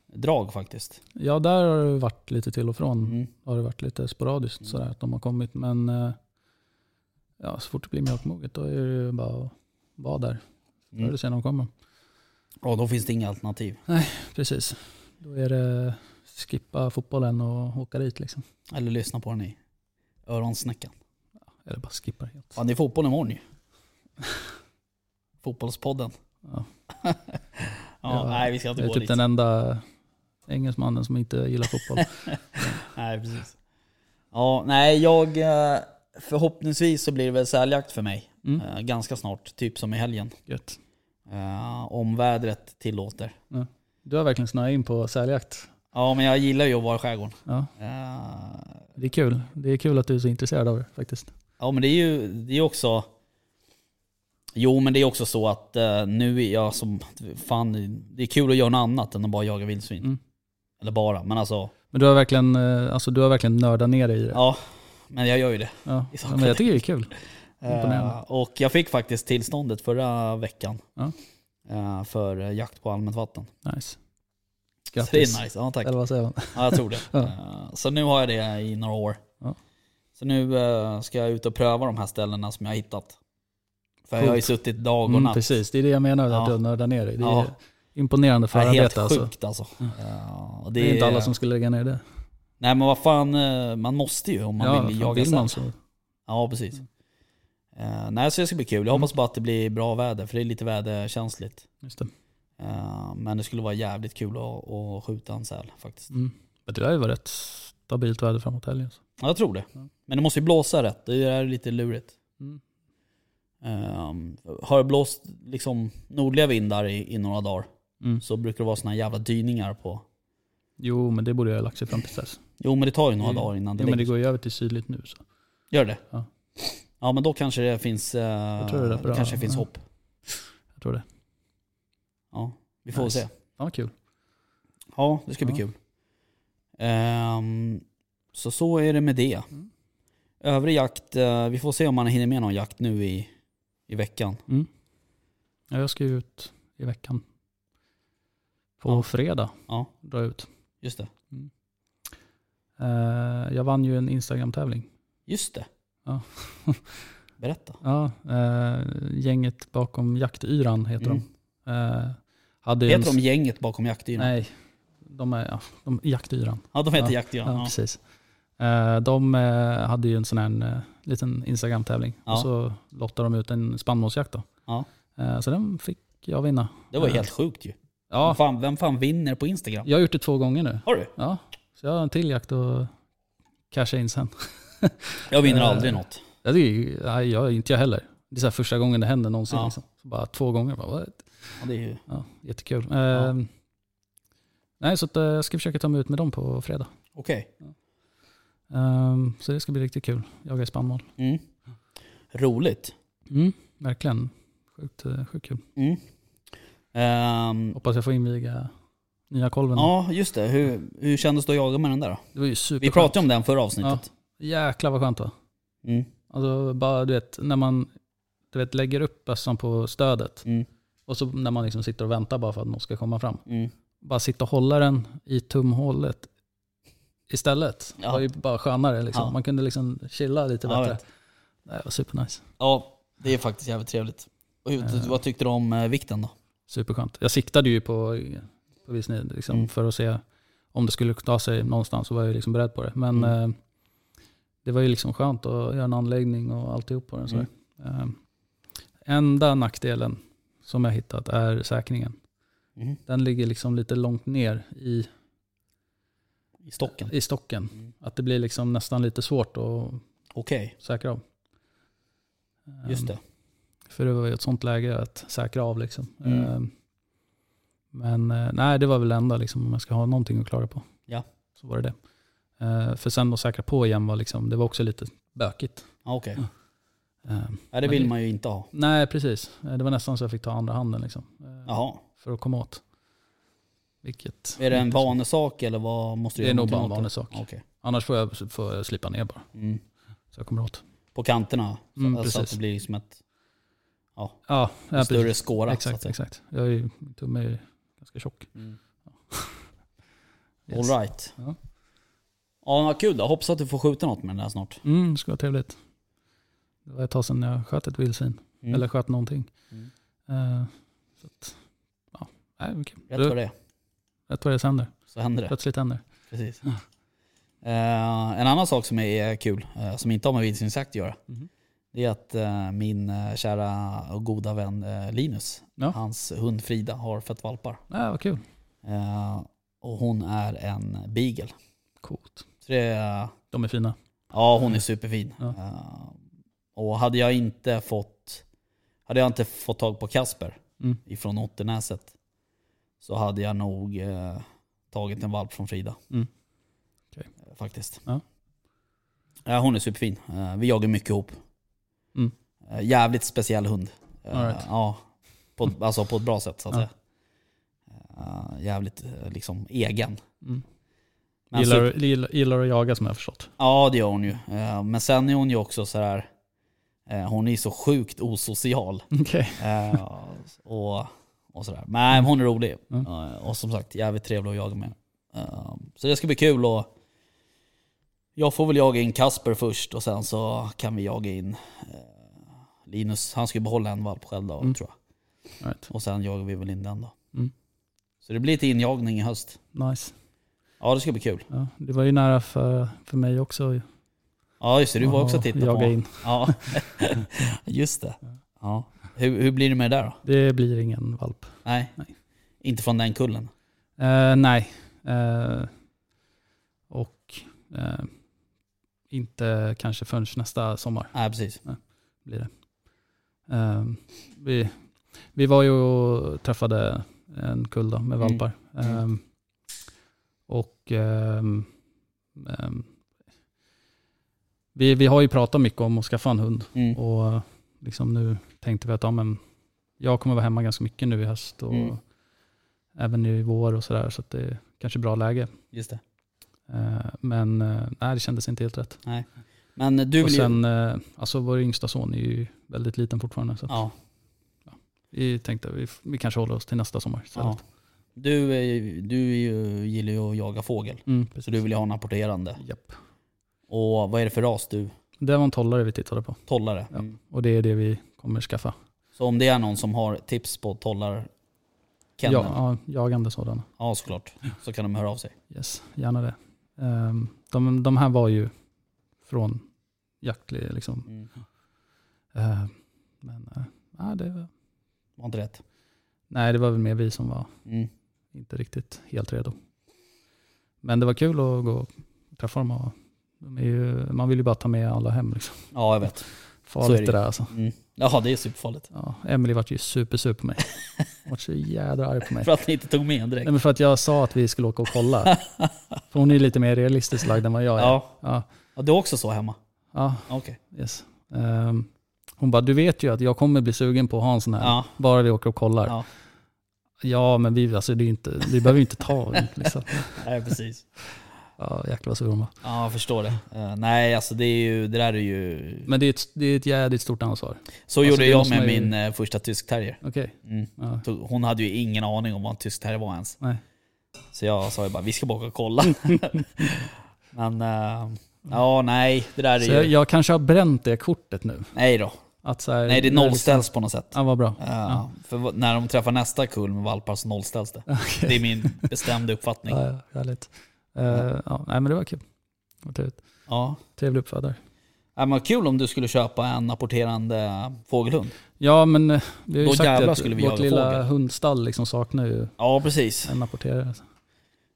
drag faktiskt.
Ja. där har det varit lite till och från.
Mm.
Har det varit lite sporadiskt
Mm.
sådär att de har kommit. Men eh, ja, så fort det blir mjölkmoget då är det ju bara att vara där. Förr
Mm.
eller senare kommer de.
Ja, då finns det inga alternativ.
Precis. Då är det skippa fotbollen och åka dit liksom.
Eller lyssna på den i öronsnäckan.
Eller bara skippa det helt.
Ja, det är fotboll imorgon ju. Fotbollspodden.
Ja.
Ja,
Ja,
nej, vi ska
Det
inte
är
gå
typ
dit.
den enda engelsmannen som inte gillar fotboll.
Nej, precis. Ja, nej, jag... eh, Förhoppningsvis så blir det väl säljakt för mig.
Mm.
Eh, Ganska snart, typ som i helgen.
Gött.
Eh, Om vädret tillåter.
Du har verkligen snöat in på säljakt.
Ja, men jag gillar ju att vara i skärgården.
Ja,
Eh,
det är kul. Det är kul att du är så intresserad av det faktiskt.
Ja, men det är ju det är också... Jo, men det är också så att eh, nu är jag som... Fan, det är kul att göra något annat än att bara jaga vildsvin.
Mm.
Eller bara, men alltså...
Men du har verkligen, eh, alltså, du har verkligen nördat ner dig i det.
Ja, men jag gör ju det.
Ja.
i
Ja, men jag tycker det är kul. Imponerande.
Eh, och jag fick faktiskt tillståndet förra veckan.
Ja.
Eh, för eh, jakt på allmänt vatten.
Nice.
Så det
Grattis.
är nice. Ja, tack.
Eller vad säger man?
Ja, jag tror det.
Ja.
Eh, så nu har jag det i några år.
Ja.
Så nu eh, ska jag ut och pröva de här ställena som jag har hittat. För jag har ju
Coolt.
suttit dag och natt.
Mm, precis, det är det jag menar
Ja.
att du har nördat ner dig. Det är
Ja.
imponerande
Ja, helt
förarbete alltså.
sjukt alltså. Eh, och
Det är, inte alla som skulle lägga ner det.
Nej men vad fan, eh, man måste ju om man
ja,
vill
fan,
jaga
vill
säl.
man så. Mm.
Ja, precis. Eh, nej, så det ska bli kul. Jag hoppas bara att det blir bra väder, för det är lite väderkänsligt.
Just det.
Eh, Men det skulle vara jävligt kul att, att skjuta en säl faktiskt.
Mm. Men det lär ju vara rätt stabilt väder framåt helgen. Så.
Ja, jag tror det.
Ja.
Men det måste ju blåsa rätt. Det är lite lurigt.
Mm.
Ehm, har det blåst liksom nordliga vindar i, i några dagar
Mm.
så brukar det vara såna här jävla dyningar på...
Jo, men det borde jag ha lagt sig fram till dess.
Jo men det tar ju några
Det-
dagar innan det,
Mm. Jo, men det
lägger sig.
går ju över till sydligt nu. Så.
Gör det?
Ja.
Ja, men då kanske det finns, eh,
tror det är bra.
kanske det finns
Ja.
hopp.
Jag tror det.
Ja, vi får
Nice.
se.
Ja, kul.
Ja, det ska bli
Ja.
kul. Ehm, så så är det med det.
Mm.
Övrig jakt, eh, vi får se om man hinner med någon jakt nu i, i veckan.
Ja, jag ska ju ut i veckan. På
Ja.
fredag
Ja.
drar jag ut.
Just det.
Eh, jag vann ju en Instagram-tävling.
Just det.
Ja.
Berätta.
Ja, eh, gänget bakom jaktyran heter
Mm.
de. Eh, hade ju en-
Heter de gänget bakom jaktyran?
Nej, de är, ja, de, jaktyran.
Ja, de heter
Ja.
jaktyran.
Ja,
Ja.
precis. Eh, De eh, hade ju en sån här en, eh, liten Instagram-tävling.
Ja.
Och så lottade de ut en spannmålsjakt då.
Ja.
Eh, Så den fick jag vinna.
Det var ju
Ja.
helt sjukt ju. Vem,
Ja,
fan, vem fan vinner på Instagram?
jag har gjort det två gånger nu.
Har du?
Ja, så jag har en till jakt och casha in sen.
Jag vinner
Eh,
aldrig något.
Ja, det är, ju- nej, jag, inte jag heller. Det är så här första gången det händer någonsin.
Ja.
Liksom. Så bara två gånger. Bara, what?
Ja, det är ju...
ja, jättekul. Eh, Nej, så att, eh, jag ska försöka ta mig ut med dem på fredag.
Okej.
Eh, Så det ska bli riktigt kul. Jaga i spannmål.
Mm. Roligt.
Mm, verkligen. Sjukt, eh, sjukt kul.
Mm. Ehm,
Hoppas jag får inviga nya kolven.
ja, just det. Hur, hur kändes det att jaga med den där då?
Det var ju super
Vi pratade om den förra avsnittet.
Jäklar vad skönt va?
Mm.
Alltså bara du vet, när man du vet, lägger upp bössan på stödet
Mm.
och så när man liksom sitter och väntar bara för att någon ska komma fram.
Mm.
Bara sitta och hålla den i tumhålet istället.
Ja.
Det var ju bara skönare liksom.
Ja.
Man kunde liksom chilla lite
Ja, jag
bättre.
vet.
Det var supernice.
Ja, det är faktiskt jävligt trevligt. Och hur,
Eh.
vad tyckte du om eh, vikten då?
Superskönt. Jag siktade ju på, på viss nivå liksom,
Mm.
för att se om det skulle ta sig någonstans så var jag ju liksom beredd på det. Men
Mm.
eh, det var ju liksom skönt att göra en anläggning och alltihop på den. Så.
Mm.
Eh, enda nackdelen som jag hittat är säkringen.
Mm.
Den ligger liksom lite långt ner i,
I stocken?
i stocken.
Mm.
Att det blir liksom nästan lite svårt att
Okej,
säkra av. Eh,
just det.
För det var ju ett sånt läge att säkra av. Liksom.
Mm.
Eh, Men eh, nej, det var väl det enda liksom, om jag ska ha någonting att klaga på.
Ja.
Så var det det. Eh, För sen att säkra på igen var, liksom, det var också lite bökigt.
Ja, Okej,
Eh,
ja, det
Men
vill
det-
man ju inte ha.
Nej, precis. Eh, Det var nästan så jag fick ta andra handen liksom, eh,
Jaha.
för att komma åt. Vilket, Mm.
Är det en vanesak eller vad måste du
Det är
göra
nog bara en
någonting
vanlig
åt
sak.
det? Okej.
Annars får jag, får jag slipa ner bara.
Mm.
Så jag kommer åt.
På kanterna? Så,
Mm,
så att
precis.
det blir som ett
Ja, ja,
större skåra? så att
Exakt,
säga.
exakt. Jag är ju, min tumme är ju ganska tjock.
Mm.
Yes.
All right. Ja.
Ja.
vad kul då. Hoppas att du får skjuta något med den där snart.
Mm, det skulle vara trevligt. Det var ett tag sedan jag sköt ett vildsvin.
Mm.
Eller sköt någonting.
Mm.
Eh, så att, ja, nej, men kul.
Rätt vad
Du,
det är
Rätt vad det sen händer.
så händer det.
Plötsligt händer
Precis. Eh, en annan sak som är kul, eh, som inte har med vildsvinsjakt att göra,
Mhm.
det är att eh, min eh, kära och goda vän eh, Linus,
Ja.
hans hund Frida, har fött valpar.
Ja, vad kul.
Eh, och hon är en beagle.
Coolt.
Så det, är-
De är fina.
ja, hon är superfin.
Ja.
Eh, och hade jag inte fått hade jag inte fått tag på Kasper
Mm.
ifrån Otternäset så hade jag nog eh, tagit en valp från Frida.
Mm. Okej.
Eh, Faktiskt.
Ja.
Ja, hon är superfin. Eh, vi jagar mycket ihop.
Mm.
Eh, jävligt speciell hund. Eh,
All right.
ja, på, ett- alltså på ett bra sätt så att
Ja.
säga. Eh, jävligt eh, liksom egen.
Mm.
Men
gillar,
super-
gillar, gillar att jaga som jag har förstått.
Ja det gör hon ju. Eh, Men sen är hon ju också så här. eh, Hon är ju så sjukt osocial.
Okej.
Eh, och, och sådär. Men nej, hon är rolig.
Mm.
Eh, Och som sagt, jävligt trevlig att jaga med. Eh, så det ska bli kul och jag får väl jaga in Kasper först och sen så kan vi jaga in eh, Linus. Han ska ju behålla en valp själv då,
Mm.
tror jag.
All Right.
Och sen jagar vi väl in den då.
Mm.
Så det blir lite injagning i höst.
Nice.
Ja, det ska bli kul.
Ja, det var ju nära för, för mig också.
Ja, just det. Du var också och
att
tittade
jaga
på.
in.
Ja, just det. Ja. Hur, hur blir det med det där då?
Det blir ingen valp.
Nej.
Nej.
Inte från den kullen?
Eh, nej. Eh, och eh, inte kanske förrän nästa sommar
Nej, precis.
blir det. Eh, vi, vi var ju och träffade en kull då, med
Mm.
valpar. Eh,
Mm.
och ehm, ehm, vi, vi har ju pratat mycket om att skaffa en hund.
Mm.
Och eh, liksom nu tänkte vi att ja, men jag kommer vara hemma ganska mycket nu i höst och
Mm.
även i vår och sådär. Så att det är kanske bra läge.
Just det.
Eh, Men eh, nej, det kändes inte helt rätt.
Men du
Och
vill ju...
sen, eh, alltså vår yngsta son är ju väldigt liten fortfarande. Så att
Ja,
vi tänkte vi, f- vi kanske håller oss till nästa sommar
ja.
istället.
Du, är ju- du är ju, gillar ju att jaga fågel.
Mm,
Så
precis.
du vill ju ha en apporterande.
Japp.
Och vad är det för ras du?
Det var en tollare vi tittade på
Tollare.
Ja. och det är det vi kommer skaffa.
Så om det är någon som har tips på tollar
Ja,
kennel, ja.
ja, jagande sådana.
såklart. Så kan de höra av sig.
Yes, gärna det. Ehm, De, de här var ju från jaktlig liksom.
Mm.
Ehm, Men eh, nej, det var,
Var inte rätt.
nej, det var väl mer vi som var
Mm.
inte riktigt helt redo. Men det var kul att gå och träffa dem. Och de är ju, man vill ju bara ta med alla hem. Liksom.
Ja, jag vet. Så är det
Farligt
ju.
det där alltså.
Mm. Ja, det är superfarligt.
Ja, Emily vart ju supersur på mig. Hon vart så jädra arg på mig.
För att ni inte tog med en direkt.
Nej, men för att jag sa att vi skulle åka och kolla. För hon är ju lite mer realistiskt lagd än vad jag är.
Ja.
Ja,
ja, du är också så hemma?
ja,
Okej.
yes. Ehm, hon bara, du vet ju att jag kommer bli sugen på att ha en sån här.
Ja.
Bara vi åker och kollar.
Ja.
Ja, men vi, alltså, det är ju inte, vi behöver ju inte ta en. Liksom.
Nej, precis.
Ja, jäklar vad sur hon var.
Ja, jag förstår det. Eh, nej, alltså det, är ju, det där är ju...
Men det är ett, det är ett jädrigt stort ansvar.
Så
Alltså,
gjorde
det
jag
måste
med
man ju-
min eh, första tysk terrier.
Okej.
Mm.
Ja.
Tog- Hon hade ju ingen aning om vad en tysk terrier var ens.
Nej.
Så jag sa ju bara, vi ska bara åka och kolla. Men eh, Ja, nej, det där
Så
är
jag,
ju...
jag kanske har bränt det kortet nu.
Nej då.
Att så här,
Nej, det
när
nollställs på något sätt.
liksom- Ja, vad bra.
Eh, För vad- när de träffar nästa kull med valpar så nollställs det. Det är min bestämda uppfattning.
Ja, ja, härligt. Eh, ja, nej, men det var kul. Vad trevligt.
Ja.
Trevlig uppfödare.
Ja, men kul om du skulle köpa en apporterande fågelhund.
Ja, men eh, vi har ju
Då
sagt det
jävlar
att
skulle vi
vårt
jaga
lilla
fågel.
hundstall liksom saknar ju
Ja, precis.
en apporterare.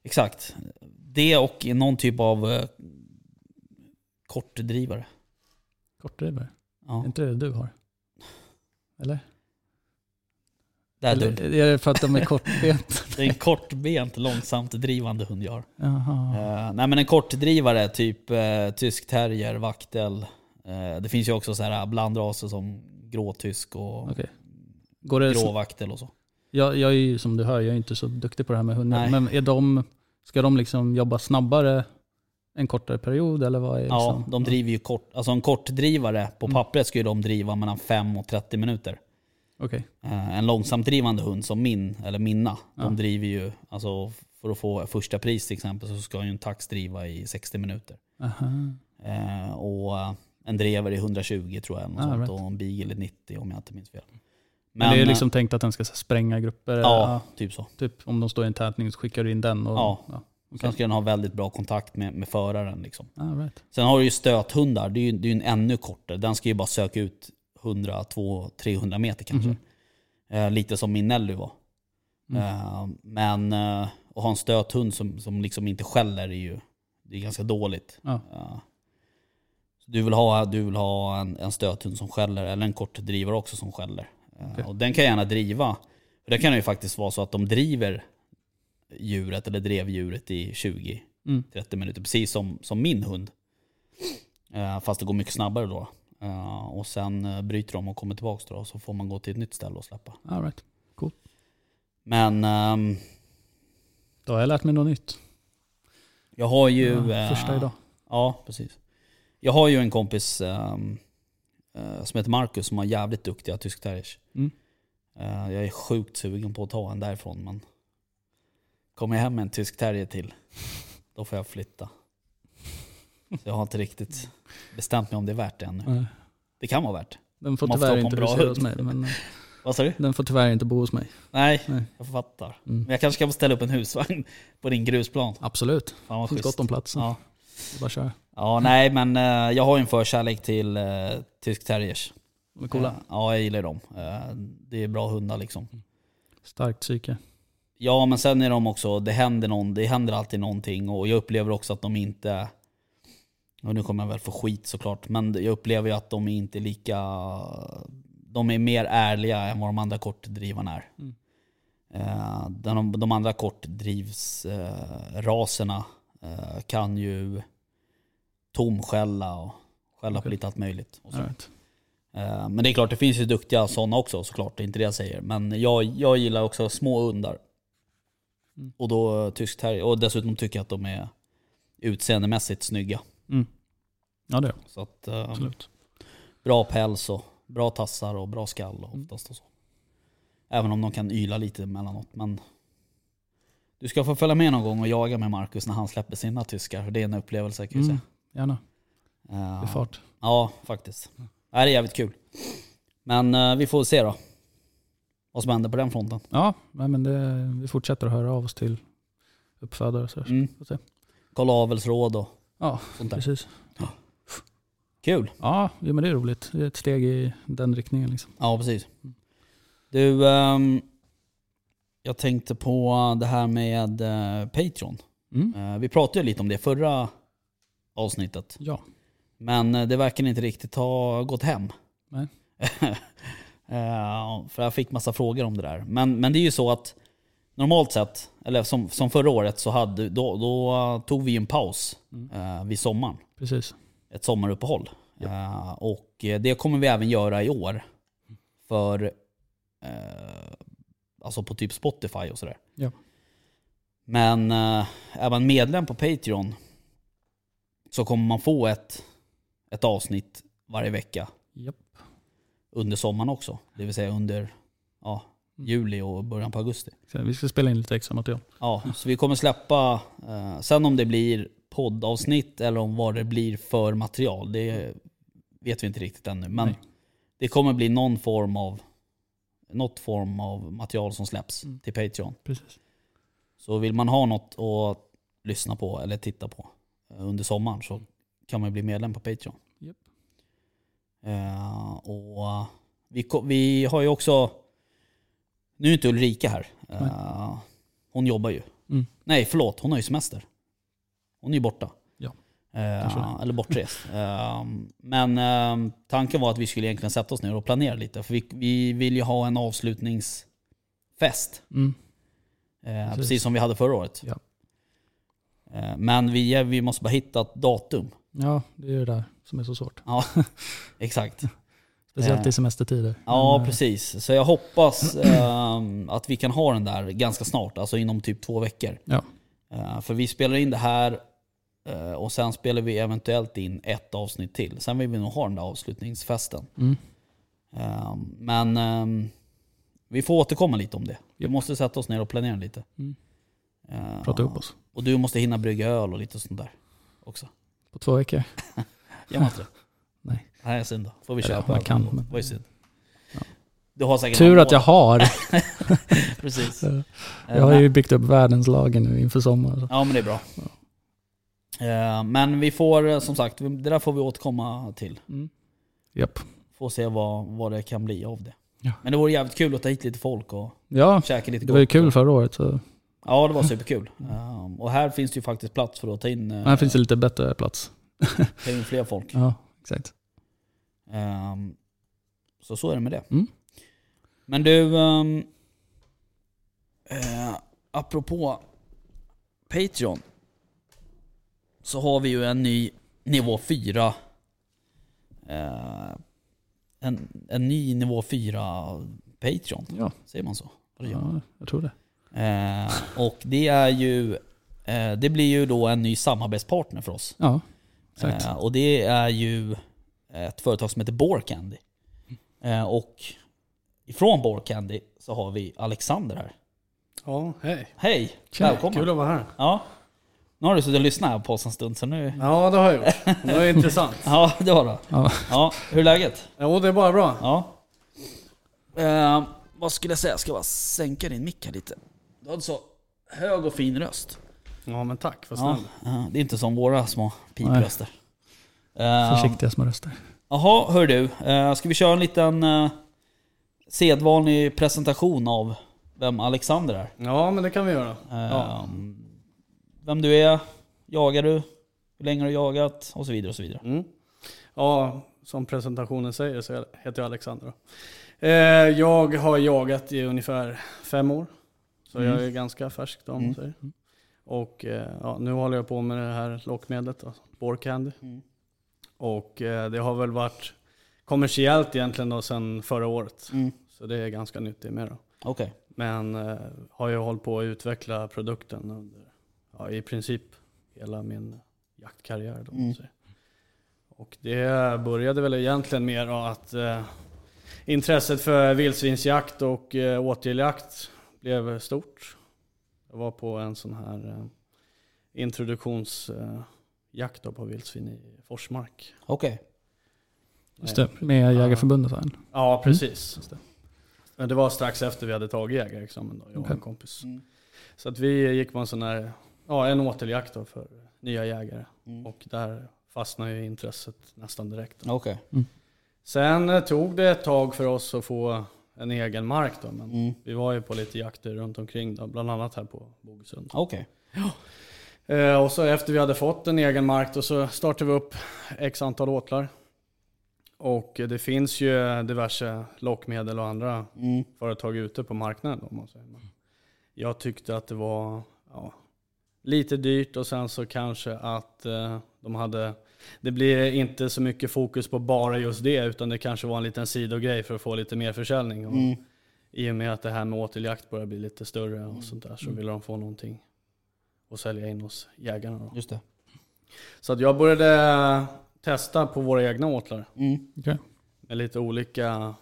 Exakt. Det och någon typ av eh, kortdrivare.
Kortdrivare.
Ja,
Är inte det du har? Eller?
det, är
Eller
dumt.
är det för att de är kortbenta?
det är en kortbent, långsamt drivande hund jag har.
Jaha.
Eh, nej men en kortdrivare, typ eh, tysk terrier, vaktel. Eh, det finns ju också så här blandraser som gråtysk och
Okej. Går det
grå vaktel och så.
jag, jag är ju som du hör, jag är inte så duktig på det här med hundar.
Nej.
Men är de, ska de liksom jobba snabbare en kortare period eller vad är Mm.
Ja,
liksom?
de driver ju kort. Alltså en kortdrivare, på pappret ska ju de driva mellan 5 och 30 minuter.
Okej.
Eh, En långsamdrivande hund som min, eller minna, de driver ju, alltså för att få första pris till exempel så ska ju en tax driva i 60 minuter.
Aha.
Eh, och eh, en drever i 120 tror jag, och,
Ah,
sånt,
right.
och en beagle i 90 om jag inte minns fel. Men,
Men det är
eh,
liksom tänkt att den ska så här, spränga grupper. eller-
ja, typ så.
typ om de står i en tävling så skickar du in den. Och,
Ja. Sen
okej.
ska den ha väldigt bra kontakt med, med föraren. Liksom.
Ah, right.
Sen har du ju stöthundar, det är ju, det är ju en ännu kortare. Den ska ju bara söka ut 100, 200, 300 meter kanske.
Mhm.
Eh, lite som min Nelly var.
Mm.
Eh, men eh, att ha en stöthund som, som liksom inte skäller är ju det är ganska dåligt.
Ja.
Eh, så du vill ha, du vill ha en, en stöthund som skäller, eller en kortdrivare också som skäller. Eh,
Okej.
Och den kan gärna driva. För det kan ju faktiskt vara så att de driver djuret, eller drev djuret i 20
Mm.
30 minuter, precis som, som min hund. Eh, fast det går mycket snabbare då. Eh, och sen eh, bryter de och kommer tillbaka då, och så får man gå till ett nytt ställe och släppa.
All right.
Men ehm,
Då har jag lärt mig något nytt.
jag har ju...
ja,
eh,
första idag.
Ja, precis. Jag har ju en kompis ehm, eh, som heter Marcus som har jävligt duktiga tyskterriers.
Mm.
Eh, jag är sjukt sugen på att ta en därifrån men kommer jag hem med en tysk terrier till, då får jag flytta. Så jag har inte riktigt bestämt mig om det är värt det ännu.
Nej.
Det kan vara värt.
Den får
Man får ta
tyvärr
på
inte
en bra
husera
hund.
hos mig. Men eh,
Vad sa du?
den får tyvärr inte bo hos mig.
Nej,
Nej.
jag fattar.
Mm.
Men jag kanske kan få ställa upp en husvagn på din grusplan.
Absolut.
Fan vad
Det finns
schysst.
gott om plats.
Ja.
Det är Bara köra.
ja, nej men eh, jag har ju en förkärlek till eh, tysk terriers.
De är coola.
Ja, jag gillar dem. Eh, det är bra hundar liksom.
Starkt psyke.
Ja, men sen är de också, det händer, någon, det händer alltid någonting och jag upplever också att de inte, och nu kommer jag väl få skit såklart, men jag upplever ju att de är inte lika, de är mer ärliga än vad de andra kortdrivarna är.
Mm.
Eh, De, de andra kortdrivsraserna eh, kan ju tomskälla och skälla på
Okej.
lite allt möjligt. Och så.
All right.
Eh, Men det är klart, det finns ju duktiga sådana också såklart, det är inte det jag säger. Men jag, jag gillar också små hundar.
Mm.
Och då eh, tyskt här Och dessutom tycker jag att de är utseendemässigt snygga.
mm. Ja det är de.
Så att, eh,
Absolut.
bra päls och bra tassar och bra skall
Mm.
oftast och så. Även om de kan yla lite emellanåt. Men du ska få följa med någon gång och jaga med Marcus när han släpper sina tyskar. Det är en upplevelse kan jag
Mm.
säga.
Gärna.
Eh,
Det är fart.
Ja, faktiskt. Det här är jävligt kul. Men eh, vi får se då. Vad som händer på den fronten.
Ja, nej, men det, vi fortsätter att höra av oss till uppfödare och sådär.
Mm.
Får se.
Kolla avelsråd och
Ja,
sånt där.
precis.
Kul.
Ja, ja, men det är roligt. Det är ett steg i den riktningen. Liksom.
Ja, precis. Du, ehm, jag tänkte på det här med eh, Patreon.
Mm.
Eh, vi pratade ju lite om det förra avsnittet.
Ja,
Men eh, det verkar inte riktigt ha gått hem.
Nej.
Eh, För jag fick massa frågor om det där. Men, men det är ju så att normalt sett, eller som, som förra året, så hade, då, då eh, tog vi ju en paus eh, vid sommaren.
precis.
Ett sommaruppehåll. Eh, och eh, det kommer vi även göra i år. För, eh, alltså på typ Spotify och sådär.
Ja.
Men eh, är man medlem på Patreon så kommer man få ett, ett avsnitt varje vecka
Japp.
under sommaren också. Det vill säga under ja, juli och början på augusti.
Så Vi ska spela in lite extra material.
Ja, så vi kommer släppa, eh, sen om det blir poddavsnitt eller om vad det blir för material. Det vet vi inte riktigt ännu. Men
Nej.
det kommer bli någon form av, något form av material som släpps till Patreon.
Precis.
Så vill man ha något att lyssna på eller titta på eh, under sommaren så kan man bli medlem på Patreon.
Japp.
Eh, och vi, ko- vi har ju också, nu är inte Ulrika här. Eh, hon jobbar ju.
Mm.
Nej förlåt, hon har ju semester. Hon är ju borta.
Ja,
Eh,
kanske det.
eller bortrest. Eh, men eh, tanken var att vi skulle egentligen sätta oss ner och planera lite. För vi, vi vill ju ha en avslutningsfest.
Mm.
Eh,
Precis.
precis. som vi hade förra året.
Ja.
Eh, men vi, vi måste bara hitta ett datum.
Ja, det är ju det där som är så svårt.
Ja, exakt.
Speciellt
Eh.
i semestertider.
Ja,
Men, eh,
precis. Så jag hoppas eh, att vi kan ha den där ganska snart, alltså inom typ två veckor.
Ja.
Eh, för vi spelar in det här eh, och sen spelar vi eventuellt in ett avsnitt till. Sen vill vi nog ha den där avslutningsfesten.
Mm.
Eh, men eh, vi får återkomma lite om det. Vi
Japp.
måste sätta oss ner och planera lite.
Mm.
Eh,
Prata ihop oss.
Och du måste hinna brygga öl och lite sånt där också.
På två veckor.
Gör man inte det?
Nej.
Nej, synd då. Får vi
Eller,
köpa
man
öl
kan,
då.
men-
Vad är synd? Du har säkert
Tur
någon
att jag har.
låda. Precis.
Eh,
Eh,
Jag har
men-
ju byggt upp världens lager nu inför sommaren. så.
Ja, men det är bra. Eh, Men vi får eh, som sagt, det där får vi återkomma till.
Mm. Japp.
Får se vad, vad det kan bli av det.
Ja.
Men det vore jävligt kul att ta hit lite folk och
Ja,
käka lite
det var ju
gott.
kul förra året. Så.
Ja, det var superkul. Eh, Och här finns det ju faktiskt plats för att ta in, eh,
Här finns det lite bättre plats.
ta in fler folk.
Ja, exakt.
Ehm, Så så är det med det.
Mm.
Men du, ehm, eh, apropå Patreon. Så har vi ju en ny nivå 4. eh, en, en ny nivå 4 Patreon.
Ja.
Säger man så? Vad det gör.
ja, jag tror det.
Eh, och det är ju, eh, det blir ju då en ny samarbetspartner för oss.
Ja, exakt.
Eh, och det är ju eh, ett företag som heter Borcandy. Eh, och ifrån Borcandy så har vi Alexander här.
Ja, hej.
Hej,
Tjena,
välkommen.
Kul att vara här.
Ja. Nu har du suttit och lyssnat på oss en stund så nu...
Ja, det har jag gjort. Det var intressant.
Ja, det har du.
Ja.
Ja, hur är läget?
Jo, det är bara bra.
Ja. Eh, vad skulle jag säga? Jag ska bara sänka din mick här lite. Du hade så hög och fin röst.
Ja, men tack. Vad
Ja,
snäll.
eh, det är inte som våra små pipröster. Eh,
Försiktiga små röster.
Jaha, hör du. Eh, Ska vi köra en liten eh, sedvanlig presentation av vem Alexander är?
Ja, men det kan vi göra.
Eh,
Ja.
Vem du är, jagar du, hur länge har du jagat och så vidare. och så vidare.
Mm. Ja, som presentationen säger så heter jag Alexander. då. Eh, Jag har jagat i ungefär fem år. Så
Mm.
jag är ganska färsk då, om man
Mm.
säger. Och eh, ja, nu håller jag på med det här lockmedlet, då, Borcandy.
Mm.
Och eh, det har väl varit kommersiellt egentligen då sedan förra året.
Mm.
Så det är ganska nytt det med då.
Okej,
Men eh, har ju hållit på att utveckla produkten under ja, i princip hela min jaktkarriär. Då, om man
Mm.
säger. Och det började väl egentligen med då att eh, intresset för vildsvinsjakt och eh, åteljakt blev stort. Jag var på en sån här eh, introduktionsjakt eh, jakt då på vildsvin i Forsmark. Eh,
okej.
Just det, med Jägarförbundet. va?
Ja, precis.
Just det.
Men det var strax efter vi hade tagit jägarexamen då, jag och
Okej.
en kompis.
Mm.
Så att vi gick på en sån här, ja en återjakt då för nya jägare.
Mm.
Och där fastnade ju intresset nästan direkt. då.
Okej.
Sen eh, tog det ett tag för oss att få en egen mark då. Men
Mm.
vi var ju på lite jakter runt omkring då, bland annat här på Bogesund.
Okej.
Eh, och så efter vi hade fått en egen mark då så startade vi upp x antal åtlar. Och eh, det finns ju diverse lockmedel och andra
Mm.
företag ute på marknaden. Om man säger. Men jag tyckte att det var ja, lite dyrt och sen så kanske att eh, de hade, det blir inte så mycket fokus på bara just det utan det kanske var en liten sidogrej för att få lite mer försäljning. Och
Mm.
I och med att det här med åteljakt börjar bli lite större och sånt där så
Mm.
ville de få någonting att sälja in hos jägarna. Då.
Just det.
Så att jag började testa på våra egna åtlar
Mm.
Okej.
med lite olika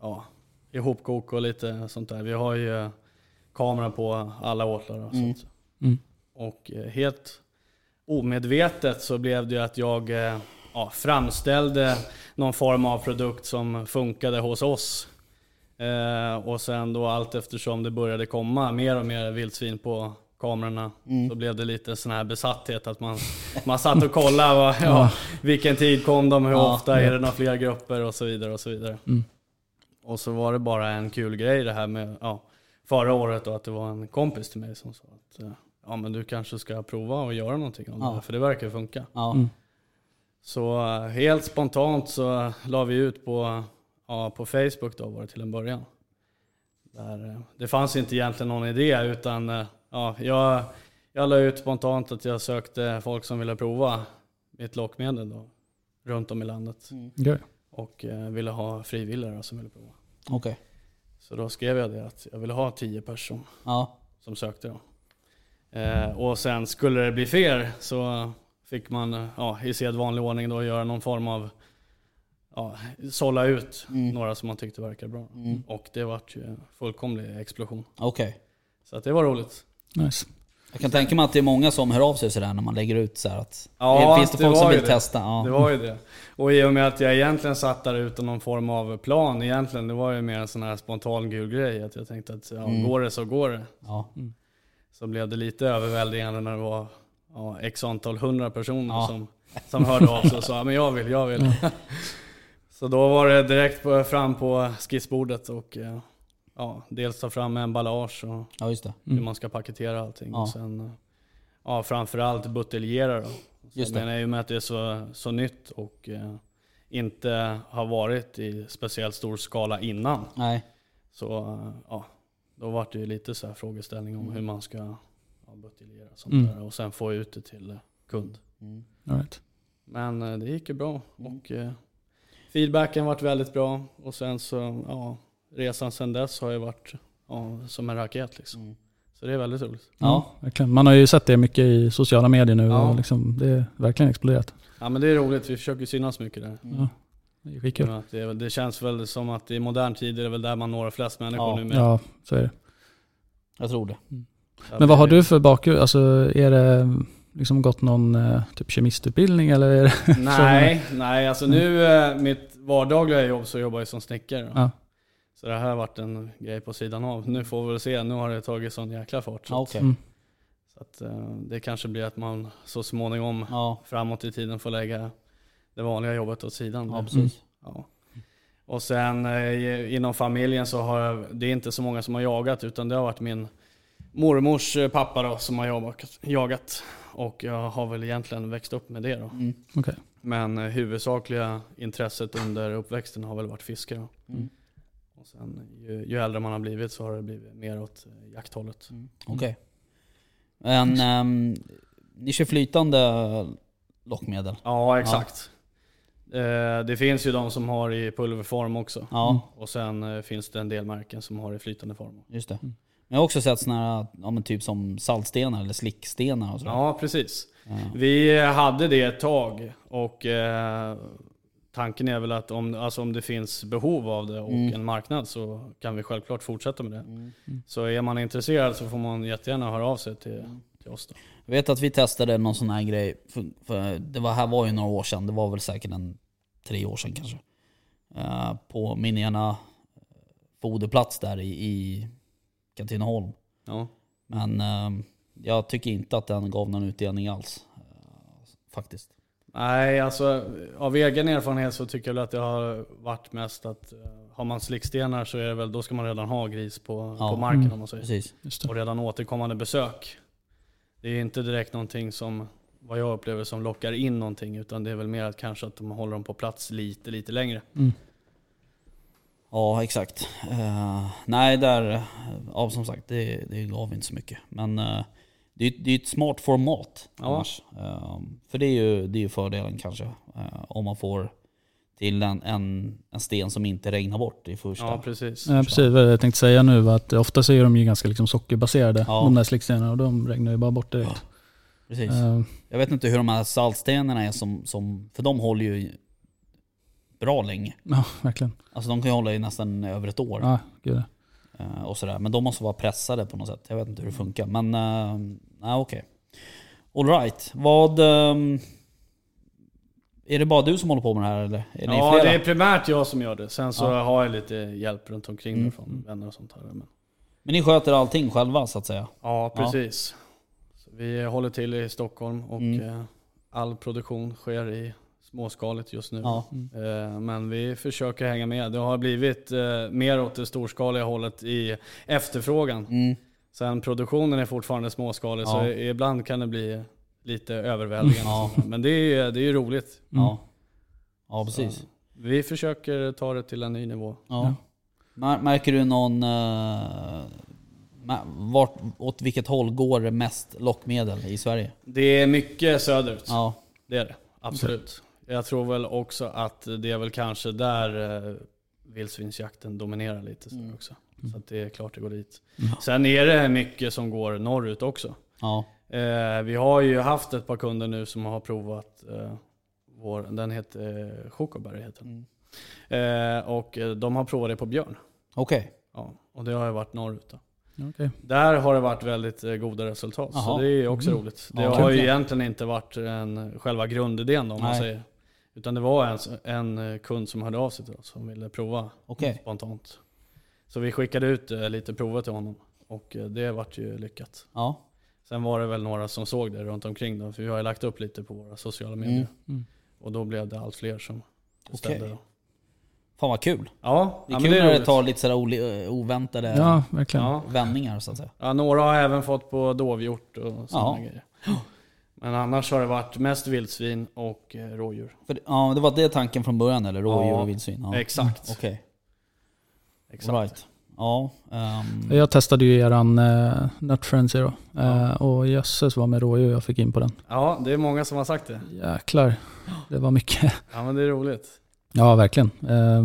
ja, ihopkok och lite sånt där. Vi har ju kamera på alla åtlar. Och,
Mm.
sånt.
Mm.
och eh, helt omedvetet så blev det ju att jag eh, ja, framställde någon form av produkt som funkade hos oss. Eh, och sen då allt eftersom det började komma mer och mer vildsvin på kamerorna
Mm.
så blev det lite sån här besatthet att man, man satt och kollade vad, ja, vilken tid kom de, hur
Ja. Mm.
ofta, är det några fler grupper och så vidare. Och så vidare. Och så var det bara en kul grej det här med ja, förra året då, att det var en kompis till mig som sa att eh, ja, men du kanske ska prova och göra någonting om
Ja.
det här för det verkar funka.
Ja.
Så eh, helt spontant så la vi ut på, ja, på Facebook då var det till en början. Där, eh, det fanns inte egentligen någon idé utan eh, ja, jag, jag la ut spontant att jag sökte folk som ville prova mitt lockmedel då, runt om i landet
Mm.
Gör det.
och eh, ville ha frivilliga då som ville prova.
Okej.
Så då skrev jag det att jag ville ha tio personer
Ja.
som sökte. Då. Eh, och sen skulle det bli fler så fick man eh, ja, i sedvanlig ordning då göra någon form av ja, sålla ut
Mm.
några som man tyckte verkade bra.
Mm.
Och det vart ju en fullkomlig explosion.
Okej.
Så att det var roligt.
Nice.
Jag kan tänka mig att det är många som hör av sig sådär när man lägger ut så här att
Ja,
Finns det,
det
folk
var
som
ju
vill
det.
testa? Ja.
Det var ju det. Och i och med att jag egentligen satt där utan någon form av plan egentligen. Det var ju mer en sån här spontan gul grej. Att jag tänkte att ja,
Mm.
går det så går det.
Ja.
så blev det lite överväldigande när det var ja, x antal hundra personer
Ja.
som, som hörde av sig och sa men jag vill, jag vill. så då var det direkt på, fram på skissbordet och eh, ja, dels ta fram emballage och
ja, just det.
hur man ska paketera allting.
Mm. Ja.
Och sen, eh, ja, framförallt buteljera. Då.
Just
Just
det.
Men i och med att det är så, så nytt och eh, inte har varit i speciellt stor skala innan
Nej.
så eh, ja, då var det ju lite så här frågeställning om hur man ska ja, buteljera och sånt
Mm.
där och sen få ut det till eh, kund.
Mm,
All right.
Men eh, det gick ju bra
Mm.
och eh, feedbacken varit väldigt bra och sen så, ja, resan sen dess har ju varit ja, som en raket liksom.
Mm.
Så det är väldigt roligt.
Ja.
Mm, verkligen. Man har ju sett det mycket i sociala medier nu
Ja.
och liksom, det är verkligen exploderat.
Ja men det är roligt, vi försöker ju synas mycket där.
Mm.
Ja. Det är skitkul.
Men att Det, är väl- det känns väl som att i modern tid är det väl där man når flest människor
Ja.
nu med.
Ja, så är det.
Jag tror det.
Men vad har du för bakgrund? Alltså, är det liksom gått någon eh, typ kemistutbildning eller? Är det?
Nej, nej alltså nu eh, mitt vardagliga jobb så jobbar jag som snickare. då.
Ja.
Så det här har varit en grej på sidan av. Nu får vi väl se, nu har det tagit sån jäkla fart. Så,
Ja, okej.
Mm.
så att, eh, det kanske blir att man så småningom
Ja.
framåt i tiden får lägga det vanliga jobbet åt sidan.
ja, precis.
Ja. Och sen eh, i- inom familjen så har jag, det är inte så många som har jagat utan det har varit min mormors eh, pappa då, som har jagat- jagat. Och jag har väl egentligen växt upp med det då.
Mm.
Okej.
Men eh, huvudsakliga intresset under uppväxten har väl varit fiske. Då.
Mm.
Och sen, ju, ju äldre man har blivit så har det blivit mer åt eh, jakthållet.
Okej. Men ehm, ni kör flytande lockmedel?
Ja, exakt. Eh, det finns ju de som har i pulverform också.
Ja,
Och sen eh, finns det en del märken som har i flytande form.
just det. Men jag har också sett såna här, ja, men typ som saltstenar eller slickstenar och sådär.
Ja, precis.
Ja.
Vi hade det ett tag och eh, tanken är väl att om, alltså om det finns behov av det och
Mm.
en marknad så kan vi självklart fortsätta med det.
Mm.
Så är man intresserad så får man jättegärna höra av sig till, till oss. Då.
Jag vet att vi testade någon sån här grej, för, för det var, här var ju några år sedan, det var väl säkert en tre år sedan kanske. Eh, på min ena foderplats där i, i Katrineholm.
Ja.
Men eh, jag tycker inte att den gav någon utdelning alls. eh, faktiskt.
Nej, alltså av egen erfarenhet så tycker jag väl att det har varit mest att eh, har man slickstenar så är det väl, då ska man redan ha gris på,
Ja.
på marken
Mm.
om man säger.
Precis.
Just det.
Och redan återkommande besök. Det är inte direkt någonting som, vad jag upplever, som lockar in någonting. Utan det är väl mer att kanske att de håller dem på plats lite, lite längre.
Mm.
Ja, exakt. Eh, nej, där... eh, Ja, som sagt, det, det gav inte så mycket. Men eh, det, är ju- det är ju ett smart format
Ja.
annars. Eh, för det är ju, det är ju fördelen kanske. eh, om man får till en, en, en sten som inte regnar bort i första.
Ja, precis.
Ja, Eh, precis, vad jag tänkte säga nu var att oftast är de ju ganska liksom sockerbaserade,
Ja.
de där slickstenarna, och de regnar ju bara bort direkt.
Precis.
Eh,
Jag vet inte hur de här saltstenarna är som... som för de håller ju bra länge.
ja, verkligen.
Alltså de kan ju hålla i nästan över ett år.
Ja, gud. ja.
Eh, och sådär. Men de måste vara pressade på något sätt. Jag vet inte hur det funkar. Men eh, nej, okej. Alright, vad... ehm, är det bara du som håller på med det här eller? Är ni
Ja,
flera?
det är primärt jag som gör det. Sen så
Ja.
har jag lite hjälp runt omkring
Mm.
mig från vänner och sånt här. Men,
Men ni sköter allting själva så att säga?
ja,
Ja.
precis. Så vi håller till i Stockholm och
Mm.
eh, all produktion sker i småskaligt just nu.
Ja.
Eh, Men vi försöker hänga med. Det har blivit eh, mer åt det storskaliga hållet i efterfrågan.
Mm.
Sen produktionen är fortfarande småskalig så
Ja.
ibland kan det bli lite överväldigande.
Ja.
Men det är ju det är ju roligt.
Ja. ja, precis.
Så Vi försöker ta det till en ny nivå.
Ja. Mär- Märker du någon... eh, mä- vart, åt vilket håll går det mest lockmedel i Sverige?
Det är mycket söderut.
Ja.
Det är det. Absolut. Jag tror väl också att det är väl kanske där eh, vildsvinsjakten dominerar lite så
Mm.
också. Så att det är klart det går dit.
Mm.
Sen är det mycket som går norrut också.
Ja.
Eh, vi har ju haft ett par kunder nu som har provat eh, vår, den heter eh, Chocoberry heter
Mm.
den. Eh, och eh, de har provat det på björn.
Okej.
Ja, och det har ju varit norrut då.
Okej.
Där har det varit väldigt eh, goda resultat,
Jaha.
så det är ju också
Mm.
roligt. Det
Ja,
har ju
verkligen.
egentligen inte varit en, själva grundidén då, om man
Nej.
säger. Utan det var en, en eh, kund som hörde av sig till oss som ville prova
Okej.
spontant. Så vi skickade ut eh, lite prover till honom och eh, det vart ju lyckat.
Ja.
Sen var det väl några som såg det runt omkring då, för vi har ju lagt upp lite på våra sociala medier.
Mm.
Mm.
Och då blev det allt fler som
Okej.
beställde. då.
Fan vad kul.
Ja,
Det är
ja, men
kul
det
när
är
det
roligt.
tar lite sådär oli- oväntade
Ja, verkligen.
Eh, Ja.
vändningar så att säga.
Ja, några har även fått på dovhjort och sådana
Ja.
grejer. Men annars har det varit mest vildsvin och eh, rådjur.
För, det- ja, det var det tanken från början eller? Rådjur
Ja.
och vildsvin? Ja. Mm,
Exakt.
Okej,
Exakt.
right. Ja. ehm,
Jag testade ju eran eh, Nut Frenzy då. Eh, och jösses vad med rådjur jag fick in på den.
Ja, det är många som har sagt det.
Jäklar, det var mycket.
Ja, men det är roligt.
Ja, verkligen. Eh,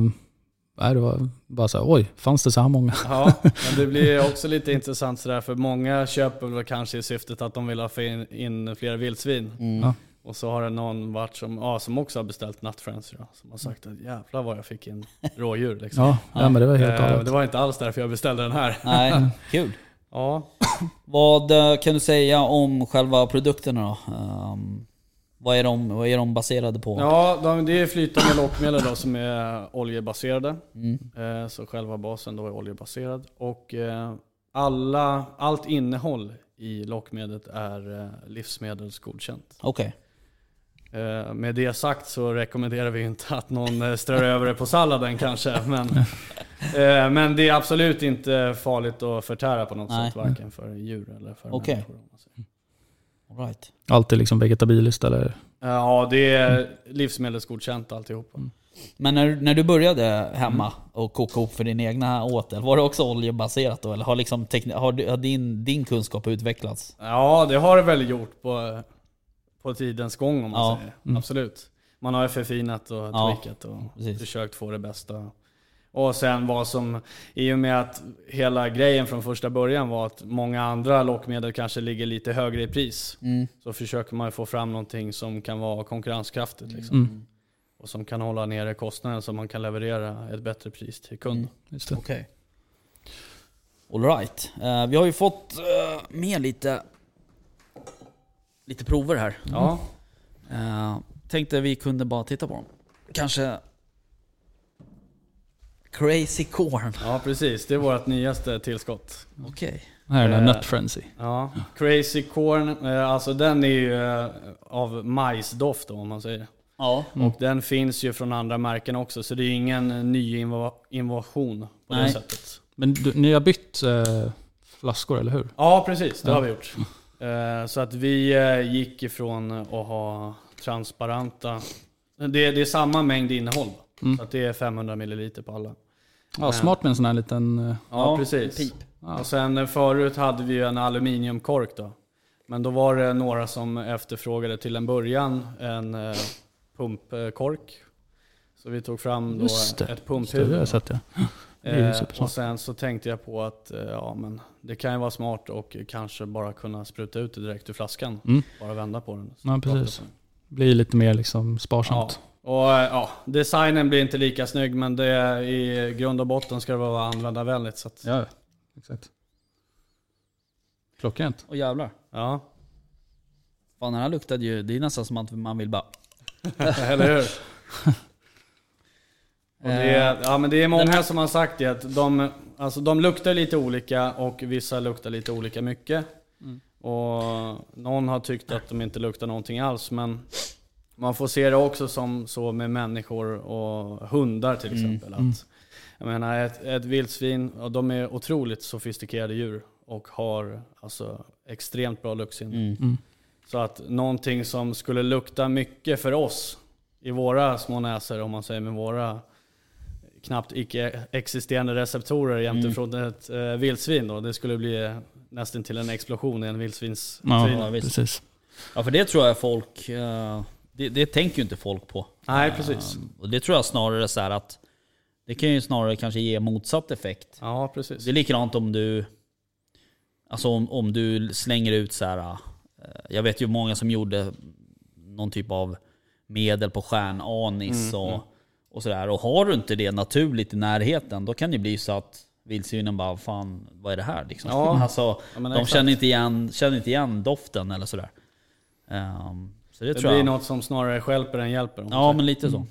nej, det var bara så här, oj, fanns det så här många?
Ja, men det blir också lite intressant sådär, för många köper väl kanske i syftet att de vill ha in, in flera vildsvin.
mm.
Ja.
Och så har det någon varit som, ja, som också har beställt Nut Frenzy då, som har sagt att jävlar vad jag fick in rådjur. Liksom.
Ja, ja men det var helt
Eh,
galet.
det var inte alls därför jag beställde den här.
Nej, kul.
Ja,
Vad eh, kan du säga om själva produkterna då? Ehm, vad, är de, vad är de baserade på?
ja de, det är flytande lockmedel då, som är oljebaserade.
Mm.
Eh, Så själva basen då är oljebaserad. Och eh, alla, allt innehåll i lockmedlet är eh, livsmedelsgodkänt.
Okej.
Eh, Med det sagt så rekommenderar vi inte att någon eh, strör över det på salladen kanske. Men, eh, men det är absolut inte farligt att förtära på något
Nej.
sätt. Varken för djur eller för
Okej.
människor. om man säger.
All right.
Alltid liksom vegetabiliskt eller?
Eh, Ja, det är livsmedelsgodkänt alltihopa.
Men när, när du började hemma
Mm.
och koka ihop för din egna åtel, var det också oljebaserat då? Eller har, liksom tekni- har, du- har din, din kunskap utvecklats?
Ja, det har det väl gjort på, på tidens gång om man
Ja.
säger.
Mm.
Absolut. Man har ju förfinat och
Ja,
tweakat och
precis.
försökt få det bästa. Och sen vad som, i och med att hela grejen från första början var att många andra lockmedel kanske ligger lite högre i pris.
Mm.
Så försöker man ju få fram någonting som kan vara konkurrenskraftigt. Liksom.
Mm.
Och som kan hålla nere kostnaden så man kan leverera ett bättre pris till
Mm.
kunden.
Just det.
Okej. Alright. Eh, vi har ju fått eh, med lite, lite prover här.
Ja,
Eh, tänkte vi kunde bara titta på dem. Kanske Crazy Corn.
ja, precis. Det är vårt nyaste tillskott.
Okej.
Här är den
Eh,
Nut Frenzy.
Ja, Crazy Corn, eh, alltså den är ju eh, av majsdoft då, om man säger.
Ja.
Mm.
Och den finns ju från andra märken också, så det är ju ingen eh, ny inva- innovation på
Nej.
det sättet.
Men du, ni har bytt eh, flaskor, eller hur?
Ja, precis. Det
Ja.
har vi gjort. Eh, Så att vi eh, gick ifrån att ha transparenta... Det är, det är samma mängd innehåll.
Mm.
Så att det är 500 milliliter på alla.
Ja, smart med en sån här liten... Eh,
Ja,
Ja,
precis.
pip.
ja.
Och sen eh, förut hade vi ju en aluminiumkork då. Men då var det några som efterfrågade till en början en eh, pumpkork. Så vi tog fram då
Just det. Just
ett
det, det har
pumphuvud.
jag sett ja. Det är ju
Eh,
supersmart.
och sen så tänkte jag på att eh, ja, men det kan ju vara smart och kanske bara kunna spruta ut det direkt ur flaskan.
Mm.
Bara vända på den.
Ja, precis. Blir lite mer liksom
Ja.
sparsamt.
Och eh, ja, designen blir inte lika snygg men det, är- i grund och botten ska det vara användarvänligt. Så att,
Ja, exakt. Klockrent.
Och jävlar.
ja.
Fan den här luktade ju, det är nästan som att man vill bara...
Eller hur? Och det, är- ja, men det är många som har sagt det, att de, alltså, de luktar lite olika och vissa luktar lite olika mycket. Och någon har tyckt att de inte luktar någonting alls, men man får se det också som så med människor och hundar till exempel. Att, jag menar, ett, ett vildsvin, ja, de är otroligt sofistikerade djur och har alltså, extremt bra luktsinne.
Mm.
Så att någonting som skulle lukta mycket för oss i våra små näsor, om man säger med våra knappt icke-existerande receptorer jämte
Mm.
från ett eh, vildsvin då, det skulle bli nästan till en explosion i en vildsvins
Ja,
Tryna, visst.
precis.
Ja för det tror jag folk, eh, det, det tänker ju inte folk på.
Nej, precis.
Eh, Och det tror jag snarare så här att det kan ju snarare kanske ge motsatt effekt.
Ja, precis.
Det är likadant om du Alltså om, om du slänger ut så här. eh, Jag vet ju många som gjorde någon typ av medel på stjärnanis
Mm,
och, och sådär. Och har du inte det naturligt i närheten då kan det bli så att vildsvinen bara fan vad är det här liksom.
Ja.
Alltså,
Ja, men
de
exakt.
känner inte, igen, känner inte igen doften eller sådär. Ehm, så det,
Det
tror
blir
jag.
något Mm. som snarare stjälper än hjälper. om man
Ja
säger.
men lite så.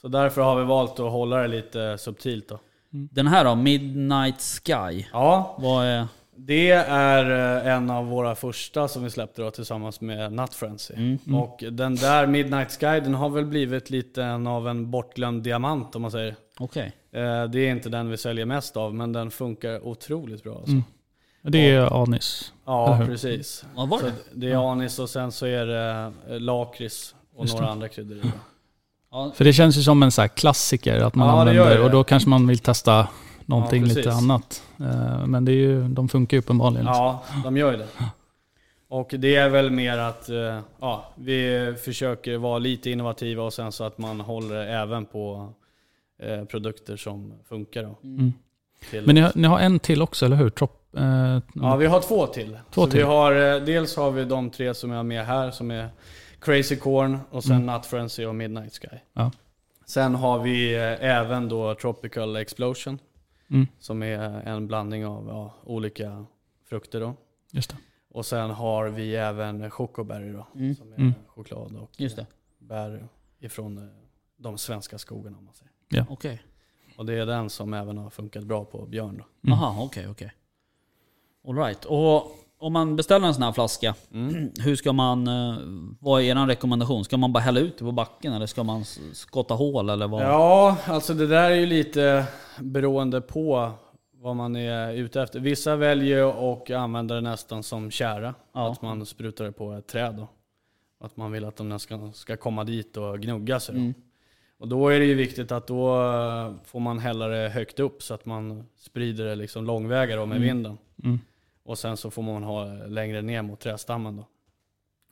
Så därför har vi valt att hålla det lite subtilt då.
Den här då, Midnight Sky.
Ja,
Vad är...
det är eh, en av våra första som vi släppte då tillsammans med Nut Frenzy. Och den där Midnight Sky, den har väl blivit lite en av en bortglömd diamant om man säger.
Okej.
Eh, Det är inte den vi säljer mest av, men den funkar otroligt bra. Alltså.
Det är anis.
Ja,
Eller hur?
precis.
Vad var
Så
det?
det är anis och sen så är det eh, lakrits och
Just
några
det.
andra kryddor. i det.
Ja,
För det känns ju som en så här klassiker att man
Ja, det gör
använder
det.
och då kanske man vill testa någonting
Ja, precis.
lite annat. Eh, Men det är ju, de funkar ju uppenbarligen. liksom.
Ja, de gör ju det. Och det är väl mer att eh, ja, vi försöker vara lite innovativa och sen så att man håller det även på eh, produkter som funkar. Då,
Mm.
till-
Men ni har, ni har en till också, eller hur? Trop, eh,
Ja, vi har två till.
Två
så
till.
Vi har, eh, dels har vi de tre som jag har med här som är Crazy Corn och sen Nut Frenzy och Midnight Sky.
Mm. Ja.
Sen har vi eh, även då Tropical Explosion
Mm,
som är en blandning av ja, olika frukter. Då.
just det. Och
Och sen har vi även Chocoberry då,
Mm.
som är
Mm.
choklad och
Just det.
bär ifrån eh, de svenska skogarna. Om man säger.
Okej.
Och det är den som även har funkat bra på björn. Då.
Mm.
Aha, okej, okej. Alright. Och om man beställer en sån här flaska,
Mm.
hur ska man... eh, Vad är er rekommendation? Ska man bara hälla ut det på backen eller ska man s- skotta hål eller vad?
Ja, alltså det där är ju lite beroende på vad man är ute efter. Vissa väljer att använda det nästan som kära.
Ja.
Att man sprutar det på ett träd. Då. Att man vill att de ska, ska komma dit och gnugga sig. då.
Mm.
Och då är det ju viktigt att då eh, får man hälla det högt upp så att man sprider det liksom långväga då med
Mm.
vinden.
Mm.
Och sen så får man ha längre ner mot trädstammen då.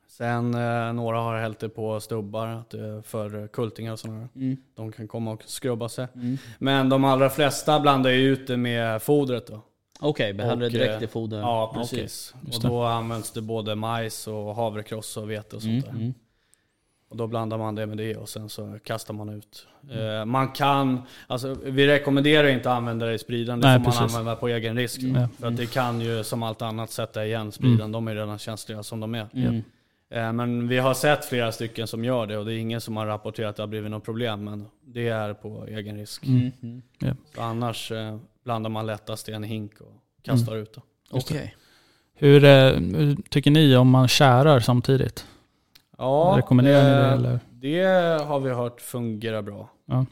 Sen eh, några har hällt det på stubbar att det är för kultingar och sådana. där.
Mm.
De kan komma och skrubba sig.
Mm.
Men de allra flesta blandar ju ut det med fodret då.
Okej, okay, det
Och, eh,
direkt i foder.
Ja, precis.
Just
Och
det.
då används det både majs och havrekross och vete och
Okej.
sånt
Mm.
där.
Mm.
Och då blandar man det med det och sen så kastar man ut.
Mm.
Eh, man kan, alltså vi rekommenderar ju inte att använda det i spridan. Det
Nej,
får man
precis. Mm.
använda på egen risk. då.
Ja. Mm.
För att det kan ju som allt annat sätta igen spridan. De är redan känsliga som de är.
Mm.
Eh, men vi har sett flera stycken som gör det och det är ingen som har rapporterat att det har blivit något problem. Men det är på egen risk.
Mm. Mm.
Så annars eh, blandar man lättast i en hink och kastar
Mm.
ut det.
Just det.
Okej.
Hur, eh, hur tycker ni om man kärar samtidigt?
Ja,
Rekommenderar ni det
eh,
eller?
Det har vi hört fungerar bra.
Ja.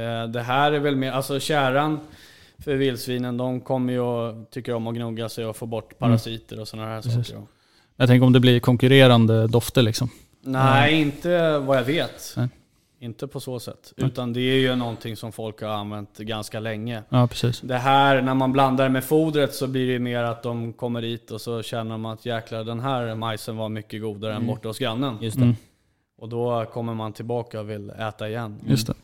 Eh, Det här är väl mer, alltså käran för vildsvinen, de kommer ju och tycker om att gnugga sig och få bort parasiter och sådana här
Mm. Precis.
saker.
Jag tänker om det blir konkurrerande dofter liksom.
Nej, inte vad jag vet.
Nej.
Inte på så sätt.
Nej.
Utan det är ju någonting som folk har använt ganska länge.
Ja, precis.
Det här, när man blandar med fodret så blir det ju mer att de kommer dit och så känner de att jäklar den här majsen var mycket godare än borta hos grannen.
Just det.
Mm.
Och då kommer man tillbaka och vill äta igen.
Just det.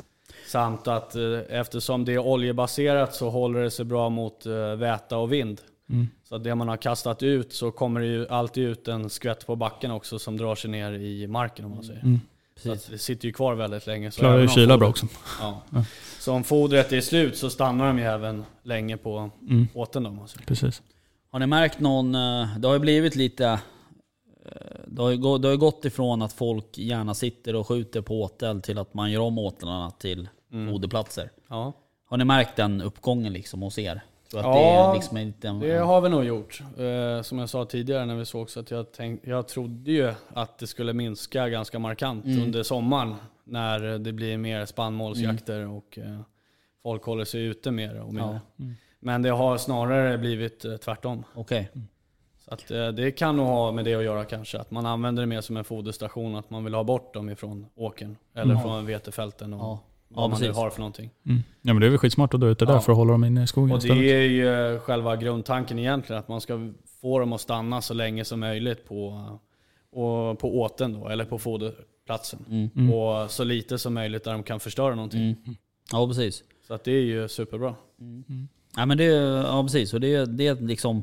Samt att eh, eftersom det är oljebaserat så håller det sig bra mot eh, väta och vind.
Mm.
Så att det man har kastat ut så kommer det ju alltid ut en skvätt på backen också som drar sig ner i marken om man säger.
Mm.
Så
Precis.
att det sitter ju kvar väldigt länge. Så
Klarar ju
även om
kyla bra
fodret-
också.
Ja. Så om fodret är slut så stannar de ju även länge på
Mm.
åten då om man säger.
Precis.
Har ni märkt någon... eh, Det har ju blivit lite... eh, Det har, ju, gå- det har ju gått ifrån att folk gärna sitter och skjuter på åtel till att man gör om åtlarna till
Mm.
foderplatser.
Ja.
Har ni märkt den uppgången liksom hos er? Tror att det
Ja,
är liksom en liten...
Det har vi nog gjort. Eh, som jag sa tidigare när vi såg så att jag, tänk, jag trodde ju att det skulle minska ganska markant under sommaren när det blir mer spannmålsjakter och eh, folk håller sig ute mer och mer. Men det har snarare blivit eh, tvärtom.
Okej.
Så att, eh, det kan nog ha med det att göra kanske. Att man använder det mer som en foderstation. Att man vill ha bort dem ifrån åkern eller från vetefälten och
Ja.
vad
Ja,
man nu
precis.
har för någonting.
Mm. Ja men det är väl skitsmart att dra ut det där
Ja.
för att hålla dem inne i skogen
Och
istället.
det är ju eh, själva grundtanken egentligen, att man ska få dem att stanna så länge som möjligt på, och på åten då, eller på foderplatsen.
Mm.
Och så lite som möjligt där de kan förstöra någonting.
Mm. Ja precis.
Så att det är ju superbra.
Ja, men det, ja precis. Och det, det är liksom...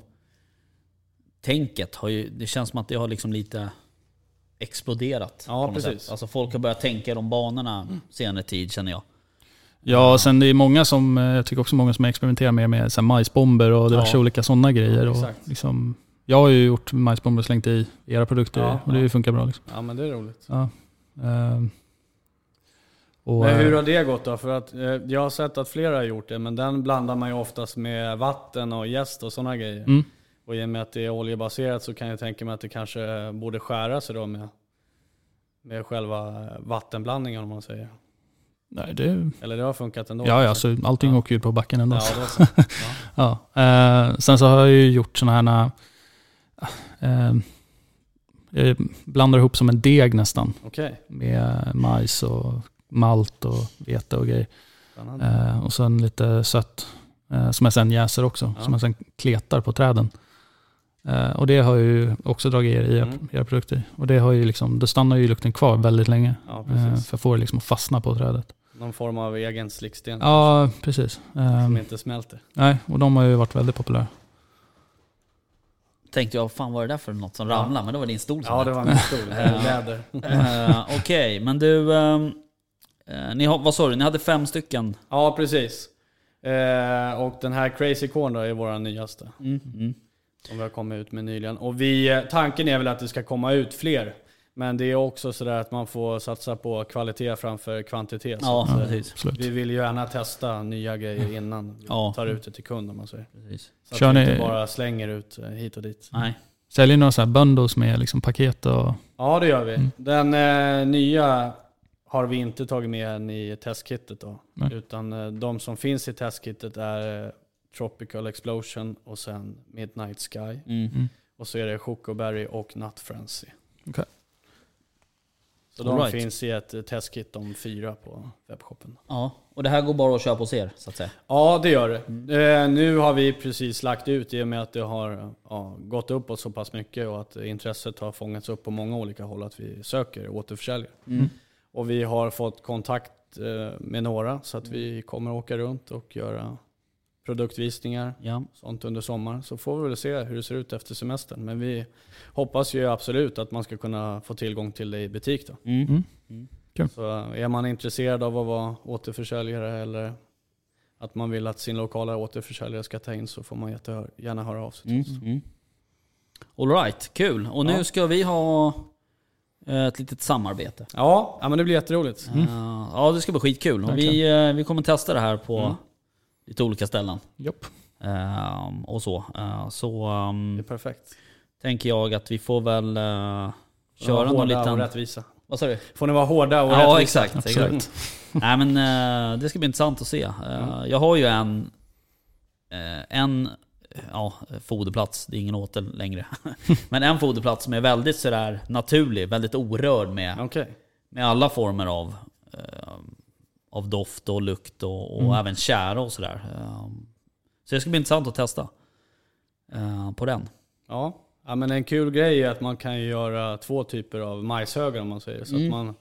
Tänket har ju... Det känns som att det har liksom lite exploderat.
Ja,
på något
precis.
Sätt. Alltså folk har börjat tänka i de banorna senare tid känner jag.
Ja, sen det är många som, eh, jag tycker också många som experimenterar mer med så här majsbomber och diverse
Ja.
olika sådana grejer.
Ja,
och
exakt.
liksom, jag har ju gjort majsbomber och slängt i era produkter
Ja,
och det
ja.
funkar bra. Liksom.
Ja men det är roligt.
Ehm, och,
Men hur
eh,
har det gått då? För att eh, jag har sett att flera har gjort det, men den blandar man ju oftast med vatten och jäst och sådana grejer.
Mm.
Och i och med att det är oljebaserat så kan jag tänka mig att det kanske eh, borde skära sig då med, med själva vattenblandningen om man säger.
nej, det,
Eller det har funkat ändå?
ja, ja, så allting
Ja.
åker ju på backen ändå.
Ja, då så. Ja.
Ja. Eh, sen så har jag ju gjort sådana här... Eh, jag blandar ihop som en deg nästan
Okej,
med majs och malt och vete och grejer.
spännande.
Eh, och sen lite sött eh, som jag sen jäser också,
Ja.
som jag sen kletar på träden. Eh, och det har jag ju också dragit er i era-
Mm.
era produkter. i. Och det har ju liksom, då stannar ju lukten kvar väldigt länge.
Ja,
Eh,
precis.
för jag får det liksom att fastna på trädet.
Någon form av egen slicksten
Ja, precis. Eh,
som inte smälter.
nej, och de har ju varit väldigt populära.
Tänkte jag, fan vad är det där för något som ramlar? Men det var din stol som
Ja, det var
Mm.
en stor läder.
Eh, Okej, men du... ehm, eh, ni har, vad sa du? Ni hade fem stycken?
Ja, precis. Eh, och den här Crazy Corn då är vår nyaste.
Mm. Mm.
Som vi har kommit ut med nyligen. Och vi, eh, tanken är väl att det ska komma ut fler. Men det är också sådär att man får satsa på kvalitet framför kvantitet. Så
Ja,
att, eh,
precis.
Absolut.
vi vill ju gärna testa nya grejer innan vi
Ja.
tar ut det till kund om man säger.
precis.
Så
Kör
att vi
ni-
inte bara slänger ut eh, hit och dit.
Nej.
Säljer ni några så här bundles med liksom paket och...
Ja, det gör vi. Den eh, nya har vi inte tagit med än i testkittet. Då,
Nej.
utan eh, de som finns i testkittet är eh, Tropical Explosion och sen Midnight Sky.
Mm.
Och så är det Chocoberry och Nut Frenzy.
Okej.
Så de
All right.
finns i ett eh, testkit om fyra på webbshoppen.
Ja, och det här går bara att köpa hos er så att säga.
Ja, det gör det. Eh, nu har vi precis lagt ut i och med att det har eh, ja, gått uppåt så pass mycket och att intresset har fångats upp på många olika håll att vi söker återförsäljare.
Mm.
Och vi har fått kontakt eh, med några så att vi kommer åka runt och göra produktvisningar
Ja.
sånt under sommaren. Så får vi väl se hur det ser ut efter semestern. Men vi hoppas ju absolut att man ska kunna få tillgång till det i butik då.
Mm.
Mm.
Så är man intresserad av att vara återförsäljare eller att man vill att sin lokala återförsäljare ska ta in så får man jätte- gärna höra av sig till
Mm.
oss.
Mm. All right, kul. Och nu
Ja.
ska vi ha eh, ett litet samarbete.
Ja, ja, men det blir jätteroligt. Mm.
Eh, ja, det ska bli skitkul. Och vi, eh, vi kommer testa det här på lite olika ställen.
Japp.
Eh, och så. Eh, så ehm,
Det är perfekt.
tänker jag att vi får väl eh, köra
Hårda
någon
och
liten...
rättvisa.
Vad sa du?
Får ni vara hårda och
Ja,
rättvisa?
exakt.
Absolut.
exakt. Nej, men, eh, det ska bli intressant att se. Eh, Jag har ju en, eh, en eh, ja, foderplats, det är ingen åtel längre. men en foderplats som är väldigt sådär naturlig, väldigt orörd med,
Okej.
med alla former av, eh, av doft och lukt och, och även tjära och sådär. Eh, Så det ska bli intressant att testa eh, på den.
Ja. ja, men en kul grej är att man kan ju göra två typer av majshögar om man säger. Så
Mm.
att man,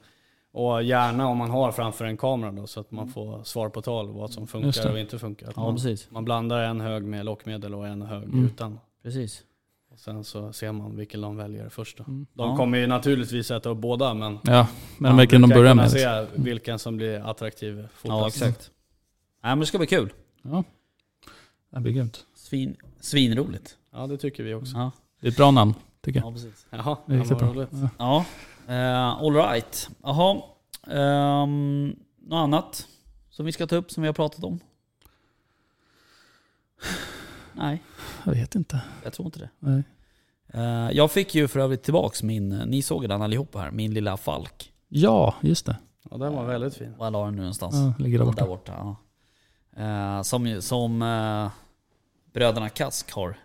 och gärna om man har framför en kamera då, så att man får svar på tal vad som
Just
funkar
det.
och inte funkar. Att
Mm. Ja,
man,
precis. Mm.
man blandar en hög med lockmedel och en hög utan.
Precis.
Och sen så ser man vilken de väljer först. Då. De
Ja.
kommer ju naturligtvis äta upp båda men
Ja, men
man
vilken de
brukar
börjar
kunna
med. liksom.
se vilken som blir attraktiv.
Ja,
fortast.
exakt. Nej, men det ska bli kul.
Ja. Det blir grymt.
Svin, svinroligt.
Ja, det tycker vi också.
Ja.
Det är ett bra namn. tycker jag.
Mm. Ja, precis.
Jaha,
Mm. Det är
ja,
riktigt
vad
bra.
roligt.
Ja.
Ja, eh, all right. Jaha. Ehm, något annat som vi ska ta upp som vi har pratat om? Nej,
Jag vet inte.
jag tror inte det.
Nej.
Eh, jag fick ju för övrigt tillbaks min, ni såg den allihopa här, min lilla falk.
Ja, just det.
Ja, den var väldigt fin.
Var la den nu någonstans?
Ja, ligger där
Där
borta.
borta. ja. Eh, som ju- som eh, bröderna Kask har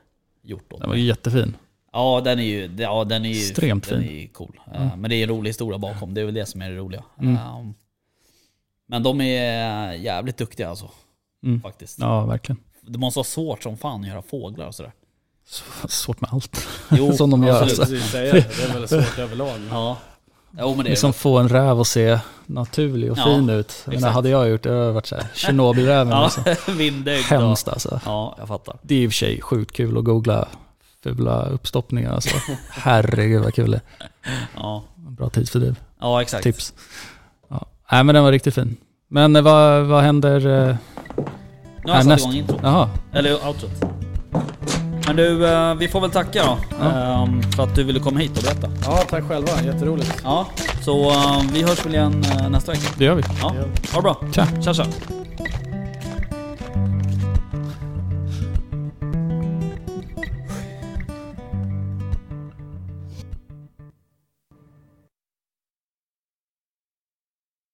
gjort åt
Den var
mig.
ju jättefin.
Ja den är ju, ja, den är ju
Extremt
den
fin.
Är ju cool. Eh, Men det är en rolig historia bakom, det är väl det som är det roliga.
Mm.
Eh, men de är jävligt duktiga alltså,
Mm.
faktiskt.
Ja, verkligen.
Det måste vara svårt som fan att göra fåglar och sådär.
S- Svårt med allt.
Jo,
Som de
Jag
gör.
skulle
Alltså.
precis säga det. Det är väl svårt överlag. Men
Ja. Jo men det är
Liksom
det.
få en räv att se naturlig och
Ja,
fin ut. Men det
exakt.
hade jag gjort, det hade varit såhär, Tjernobylräven
Ja,
alltså.
vindögd och...
Hemskt alltså.
Ja, jag fattar.
Det är i och för sig sjukt kul att googla fula uppstoppningar alltså. Herregud vad kul det är.
Ja,
Bra tidsfördriv.
ja exakt.
Tips. Ja. Nej men den var riktigt fin. Men eh, vad, vad händer eh,
Nu har jag satt
härnäst?
igång intro.
Jaha,
Eller outrot. Men du, eh, vi får väl tacka då. ehm, För att du ville komma hit och berätta.
Ja, tack själva. Jätteroligt.
Ja, så eh, vi hörs väl igen eh, nästa vecka.
det gör vi.
Ja,
Det gör
ha det bra.
Tja.
Tja tja.
Hej.